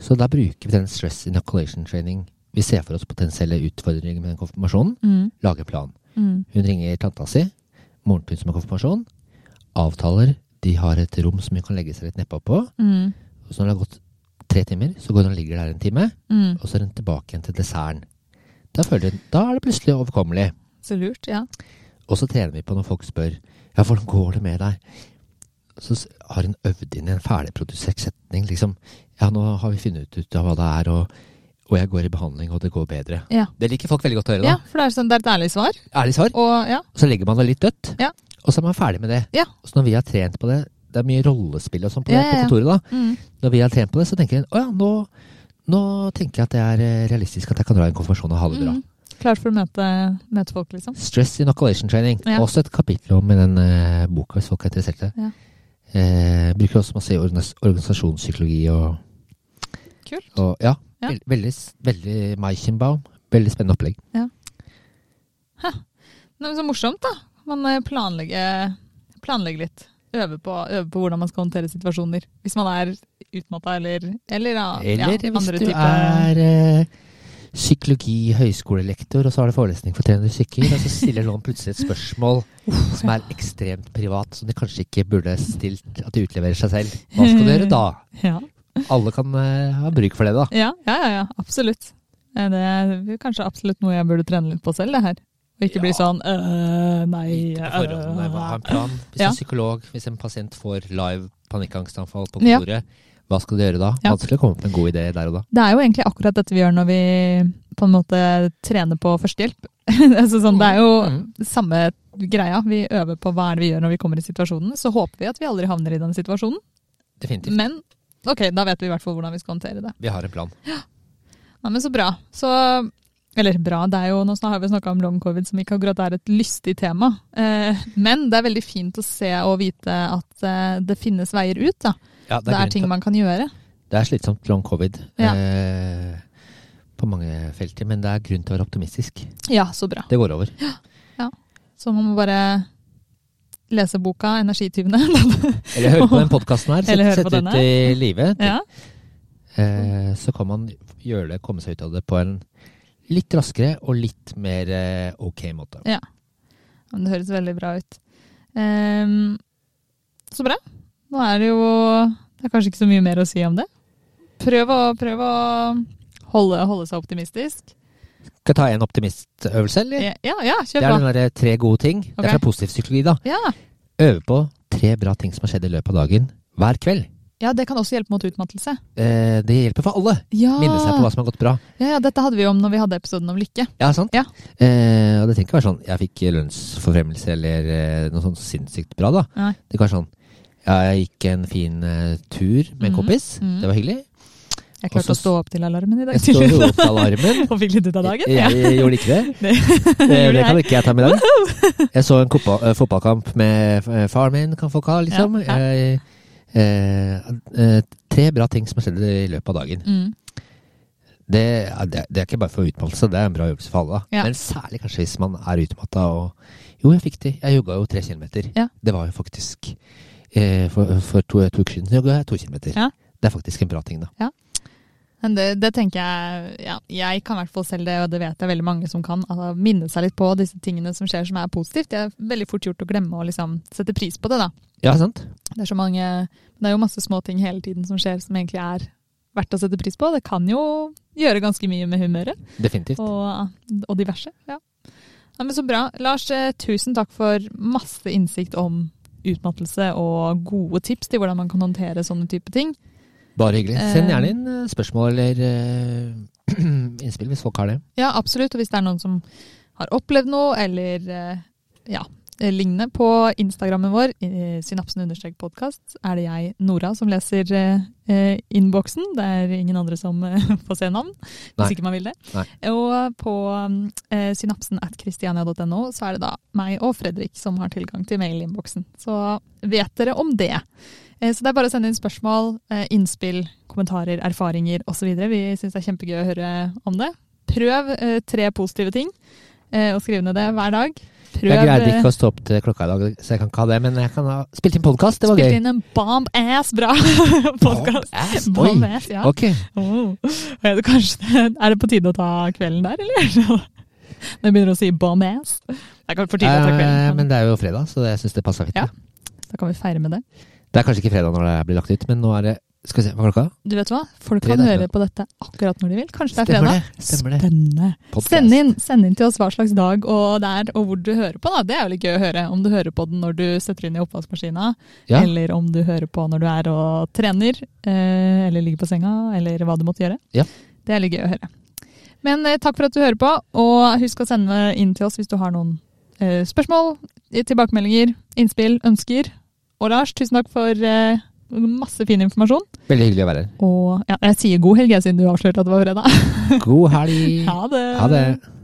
[SPEAKER 2] Så da bruker vi den stress inoculation training. Vi ser for oss potensielle utfordringer med den konfirmasjonen.
[SPEAKER 1] Mm.
[SPEAKER 2] Lager plan.
[SPEAKER 1] Mm.
[SPEAKER 2] Hun ringer tanta si, moren til hun som har konfirmasjon. Avtaler. De har et rom som hun kan legge seg litt nedpå på.
[SPEAKER 1] Mm.
[SPEAKER 2] Og så når det har gått tre timer, så går hun og ligger der en time.
[SPEAKER 1] Mm.
[SPEAKER 2] Og så er hun tilbake igjen til desserten. Da, føler hun, da er det plutselig overkommelig.
[SPEAKER 1] Så lurt, ja.
[SPEAKER 2] Og så trener vi på når folk spør Ja, hvordan går det med deg? Så s- har hun øvd inn en ferdigprodusert setning. Liksom Ja, nå har vi funnet ut av hva det er, og, og jeg går i behandling, og det går bedre.
[SPEAKER 1] Ja.
[SPEAKER 2] Det liker folk veldig godt å høre,
[SPEAKER 1] ja.
[SPEAKER 2] da.
[SPEAKER 1] For det er, sånn, det er et ærlig svar.
[SPEAKER 2] Ærlig svar.
[SPEAKER 1] Og ja.
[SPEAKER 2] Så legger man det litt dødt,
[SPEAKER 1] Ja.
[SPEAKER 2] og så er man ferdig med det.
[SPEAKER 1] Ja.
[SPEAKER 2] Så når vi har trent på det Det er mye rollespill og sånn på,
[SPEAKER 1] Ja,
[SPEAKER 2] det
[SPEAKER 1] ja, ja.
[SPEAKER 2] på kontoret, da.
[SPEAKER 1] Mm.
[SPEAKER 2] Når vi har trent på det, så tenker hun å ja, nå, nå tenker jeg at det er eh, realistisk at jeg kan dra i en konfirmasjon og ha det bra.
[SPEAKER 1] Mm. Klar for å møte, møte folk, liksom.
[SPEAKER 2] Stress inoculation training.
[SPEAKER 1] Ja.
[SPEAKER 2] Også et kapittel om i den eh, boka, hvis folk er interessert i det.
[SPEAKER 1] Ja.
[SPEAKER 2] Eh, bruker også masse i organis organisasjonspsykologi og,
[SPEAKER 1] Kult.
[SPEAKER 2] og Ja.
[SPEAKER 1] Ja.
[SPEAKER 2] Veld, veldig, s- veldig Meichenbaum. Veldig spennende opplegg.
[SPEAKER 1] Nei, men så morsomt, da. Man eh, planlegger, planlegger litt. Øve på, øve på hvordan man skal håndtere situasjoner. Hvis man er utmatta eller, eller, ja,
[SPEAKER 2] Eller
[SPEAKER 1] ja,
[SPEAKER 2] hvis
[SPEAKER 1] andre
[SPEAKER 2] du
[SPEAKER 1] typer-
[SPEAKER 2] er eh, psykologi-høyskolelektor, og så har du forelesning for 300 stykker, og så stiller noen plutselig et spørsmål som er ekstremt privat, som de kanskje ikke burde stilt, at de utleverer seg selv. Hva skal du gjøre da?
[SPEAKER 1] ja.
[SPEAKER 2] Alle kan eh, ha bruk for det, da.
[SPEAKER 1] Ja, ja, ja, ja, absolutt. Eh, Det er kanskje absolutt noe jeg burde trene litt på selv, det her. Og ikke bli
[SPEAKER 2] Ja.
[SPEAKER 1] sånn øh, nei,
[SPEAKER 2] Vite på forhånd, nei, hva- ha en
[SPEAKER 1] øh.
[SPEAKER 2] plan. Hvis
[SPEAKER 1] Ja.
[SPEAKER 2] en psykolog, hvis en pasient får live panikkangstanfall på
[SPEAKER 1] Ja.
[SPEAKER 2] kontoret, hva skal du gjøre da?
[SPEAKER 1] Ja.
[SPEAKER 2] Vanskelig å komme opp med en god idé der og da.
[SPEAKER 1] Det er jo egentlig akkurat dette vi gjør når vi på en måte trener på førstehjelp. altså sånn, det er jo
[SPEAKER 2] Mm.
[SPEAKER 1] samme greia. Vi øver på hva er det vi gjør når vi kommer i situasjonen. Så håper vi at vi aldri havner i den situasjonen.
[SPEAKER 2] Definitivt.
[SPEAKER 1] Men ok, da vet vi i hvert fall hvordan vi skal håndtere det.
[SPEAKER 2] Vi har en plan.
[SPEAKER 1] Nei, men så bra. Så Eller bra, det er jo, nå snak- har vi snakka om long covid, som ikke akkurat er et lystig tema. Eh, men det er veldig fint å se og vite at eh, det finnes veier ut. Da.
[SPEAKER 2] Ja,
[SPEAKER 1] Det er ting man kan gjøre.
[SPEAKER 2] Det er slitsomt long covid
[SPEAKER 1] Ja.
[SPEAKER 2] eh, på mange felter, men det er grunn til å være optimistisk.
[SPEAKER 1] Ja, så bra.
[SPEAKER 2] Det går over.
[SPEAKER 1] Så man må bare lese boka 'Energityvene'.
[SPEAKER 2] Eller hør på den podkasten her. Sett,
[SPEAKER 1] Eller hør
[SPEAKER 2] sett
[SPEAKER 1] på den
[SPEAKER 2] ut i livet.
[SPEAKER 1] ja.
[SPEAKER 2] Eh, så kan man gjøre det, komme seg ut av det på en litt raskere og litt mer eh, ok måte.
[SPEAKER 1] Men det høres veldig bra ut. Ehm, så bra. Nå er det jo Det er kanskje ikke så mye mer å si om det. Prøv å, prøv å holde, holde seg optimistisk.
[SPEAKER 2] Skal jeg ta en optimistøvelse, eller?
[SPEAKER 1] Ja, ja, ja
[SPEAKER 2] Det er
[SPEAKER 1] kjør
[SPEAKER 2] den
[SPEAKER 1] på.
[SPEAKER 2] derre tre gode ting. Det
[SPEAKER 1] Ok.
[SPEAKER 2] er fra positiv psykologi, da.
[SPEAKER 1] Ja.
[SPEAKER 2] Øve på tre bra ting som har skjedd i løpet av dagen hver kveld.
[SPEAKER 1] ja, det kan også hjelpe mot utmattelse.
[SPEAKER 2] Eh, det hjelper for alle.
[SPEAKER 1] Ja.
[SPEAKER 2] Minne seg på hva som har gått bra.
[SPEAKER 1] ja, ja, dette hadde vi jo om når vi hadde episoden om lykke.
[SPEAKER 2] Ja, sant?
[SPEAKER 1] Ja.
[SPEAKER 2] Eh, og det trenger ikke være sånn jeg fikk lønnsforfremmelse eller eh, noe sånn sinnssykt bra, da.
[SPEAKER 1] Nei.
[SPEAKER 2] Det kan være sånn ja, jeg gikk en fin eh, tur med en
[SPEAKER 1] Mhm,
[SPEAKER 2] kompis.
[SPEAKER 1] mhm.
[SPEAKER 2] Det var hyggelig.
[SPEAKER 1] Jeg klarte
[SPEAKER 2] Også
[SPEAKER 1] å stå opp til alarmen i dag
[SPEAKER 2] Jeg sto og
[SPEAKER 1] tidlig.
[SPEAKER 2] ropte alarmen.
[SPEAKER 1] Og fikk litt ut av dagen. Ja.
[SPEAKER 2] Jeg, jeg gjorde ikke det.
[SPEAKER 1] Det-
[SPEAKER 2] Eh,
[SPEAKER 1] gjorde
[SPEAKER 2] det kan ikke jeg ta med i dag. Jeg så en koppa- eh, fotballkamp med eh, faren min, kan folk ha, liksom.
[SPEAKER 1] Ja, ja.
[SPEAKER 2] Jeg, eh, eh, tre bra ting som har skjedd i løpet av dagen.
[SPEAKER 1] Mm.
[SPEAKER 2] Det, ja, det, det er ikke bare for utmattelse, det er en bra øvelse for alle. da.
[SPEAKER 1] Ja.
[SPEAKER 2] Men særlig kanskje hvis man er utmatta og Jo, jeg fikk det. Jeg jogga jo tre kilometer.
[SPEAKER 1] Ja.
[SPEAKER 2] Det var jo faktisk eh, For, for to to uker siden jogga jeg to kilometer.
[SPEAKER 1] Ja.
[SPEAKER 2] Det er faktisk en bra ting, da.
[SPEAKER 1] Men det, det tenker jeg ja, Jeg kan i hvert fall selv det, og det vet jeg veldig mange som kan. Altså, minne seg litt på disse tingene som skjer som er positivt. Det er veldig fort gjort å glemme å liksom, sette pris på det. da.
[SPEAKER 2] Ja, sant?
[SPEAKER 1] Det er, så mange, det er jo masse små ting hele tiden som skjer som egentlig er verdt å sette pris på. Det kan jo gjøre ganske mye med humøret
[SPEAKER 2] Definitivt.
[SPEAKER 1] og, og diverse. Ja. Ja, men så bra. Lars, eh, tusen takk for masse innsikt om utmattelse og gode tips til hvordan man kan håndtere sånne type ting.
[SPEAKER 2] Bare hyggelig.
[SPEAKER 1] Eh,
[SPEAKER 2] Send gjerne inn eh, spørsmål eller eh, innspill hvis folk har det.
[SPEAKER 1] Ja, absolutt. Og hvis det er noen som har opplevd noe, eller eh, ja, eh, lignende, på Instagrammen vår, eh, synapsen-podkast, er det jeg, Nora, som leser eh, eh, innboksen. Det er ingen andre som eh, får se navn,
[SPEAKER 2] Nei.
[SPEAKER 1] hvis ikke man vil det.
[SPEAKER 2] Nei.
[SPEAKER 1] Og på eh, synapsen at christiania.no så er det da meg og Fredrik som har tilgang til mailinnboksen. Så vet dere om det. Eh, Så det er bare å sende inn spørsmål, eh, innspill, kommentarer, erfaringer osv. Vi syns det er kjempegøy å høre om det. Prøv eh, tre positive ting, eh, og skriv ned det hver dag. Prøv
[SPEAKER 2] Jeg greide
[SPEAKER 1] eh,
[SPEAKER 2] ikke å stå opp til klokka i dag, så jeg kan ikke ha det. Men jeg kan ha spilt inn podkast. Det var
[SPEAKER 1] spilt
[SPEAKER 2] gøy.
[SPEAKER 1] inn en bomb ass bra podkast.
[SPEAKER 2] Ass, boy.
[SPEAKER 1] Bomb ass, ja.
[SPEAKER 2] Ok.
[SPEAKER 1] Oh. Er, det kanskje, er det på tide å ta kvelden der, eller? Når jeg begynner å si bomb ass. Det er kanskje for tidlig å ta
[SPEAKER 2] Eh,
[SPEAKER 1] kvelden,
[SPEAKER 2] men det er jo fredag, så jeg syns det passer fint.
[SPEAKER 1] Ja.
[SPEAKER 2] det.
[SPEAKER 1] men da kan vi feire med det.
[SPEAKER 2] Det er kanskje ikke fredag når det her blir lagt ut, men nå er det Skal vi se, hva er klokka?
[SPEAKER 1] Du vet hva? Folk
[SPEAKER 2] Tre
[SPEAKER 1] kan
[SPEAKER 2] dager.
[SPEAKER 1] høre på dette akkurat når de vil. Kanskje det er
[SPEAKER 2] Stemmer
[SPEAKER 1] fredag.
[SPEAKER 2] det, stemmer det.
[SPEAKER 1] Spennende.
[SPEAKER 2] Podcast.
[SPEAKER 1] Send inn, send inn til oss hva slags dag og der, og hvor du hører på. da. Det er jo litt gøy å høre. Om du hører på den når du setter inn i oppvaskmaskina,
[SPEAKER 2] Ja,
[SPEAKER 1] eller om du hører på når du er og trener, eh, eller ligger på senga, eller hva du måtte gjøre.
[SPEAKER 2] Ja.
[SPEAKER 1] Det er litt gøy å høre. Men eh, takk for at du hører på, og husk å sende inn til oss hvis du har noen eh, spørsmål, eh, tilbakemeldinger, innspill, ønsker. Og Lars, tusen takk for eh, masse fin informasjon.
[SPEAKER 2] Veldig hyggelig å være her.
[SPEAKER 1] Og ja, jeg sier god helg, jeg, siden du avslørte at det var fredag.
[SPEAKER 2] God helg!
[SPEAKER 1] Ha det!
[SPEAKER 2] Mm. Ha det!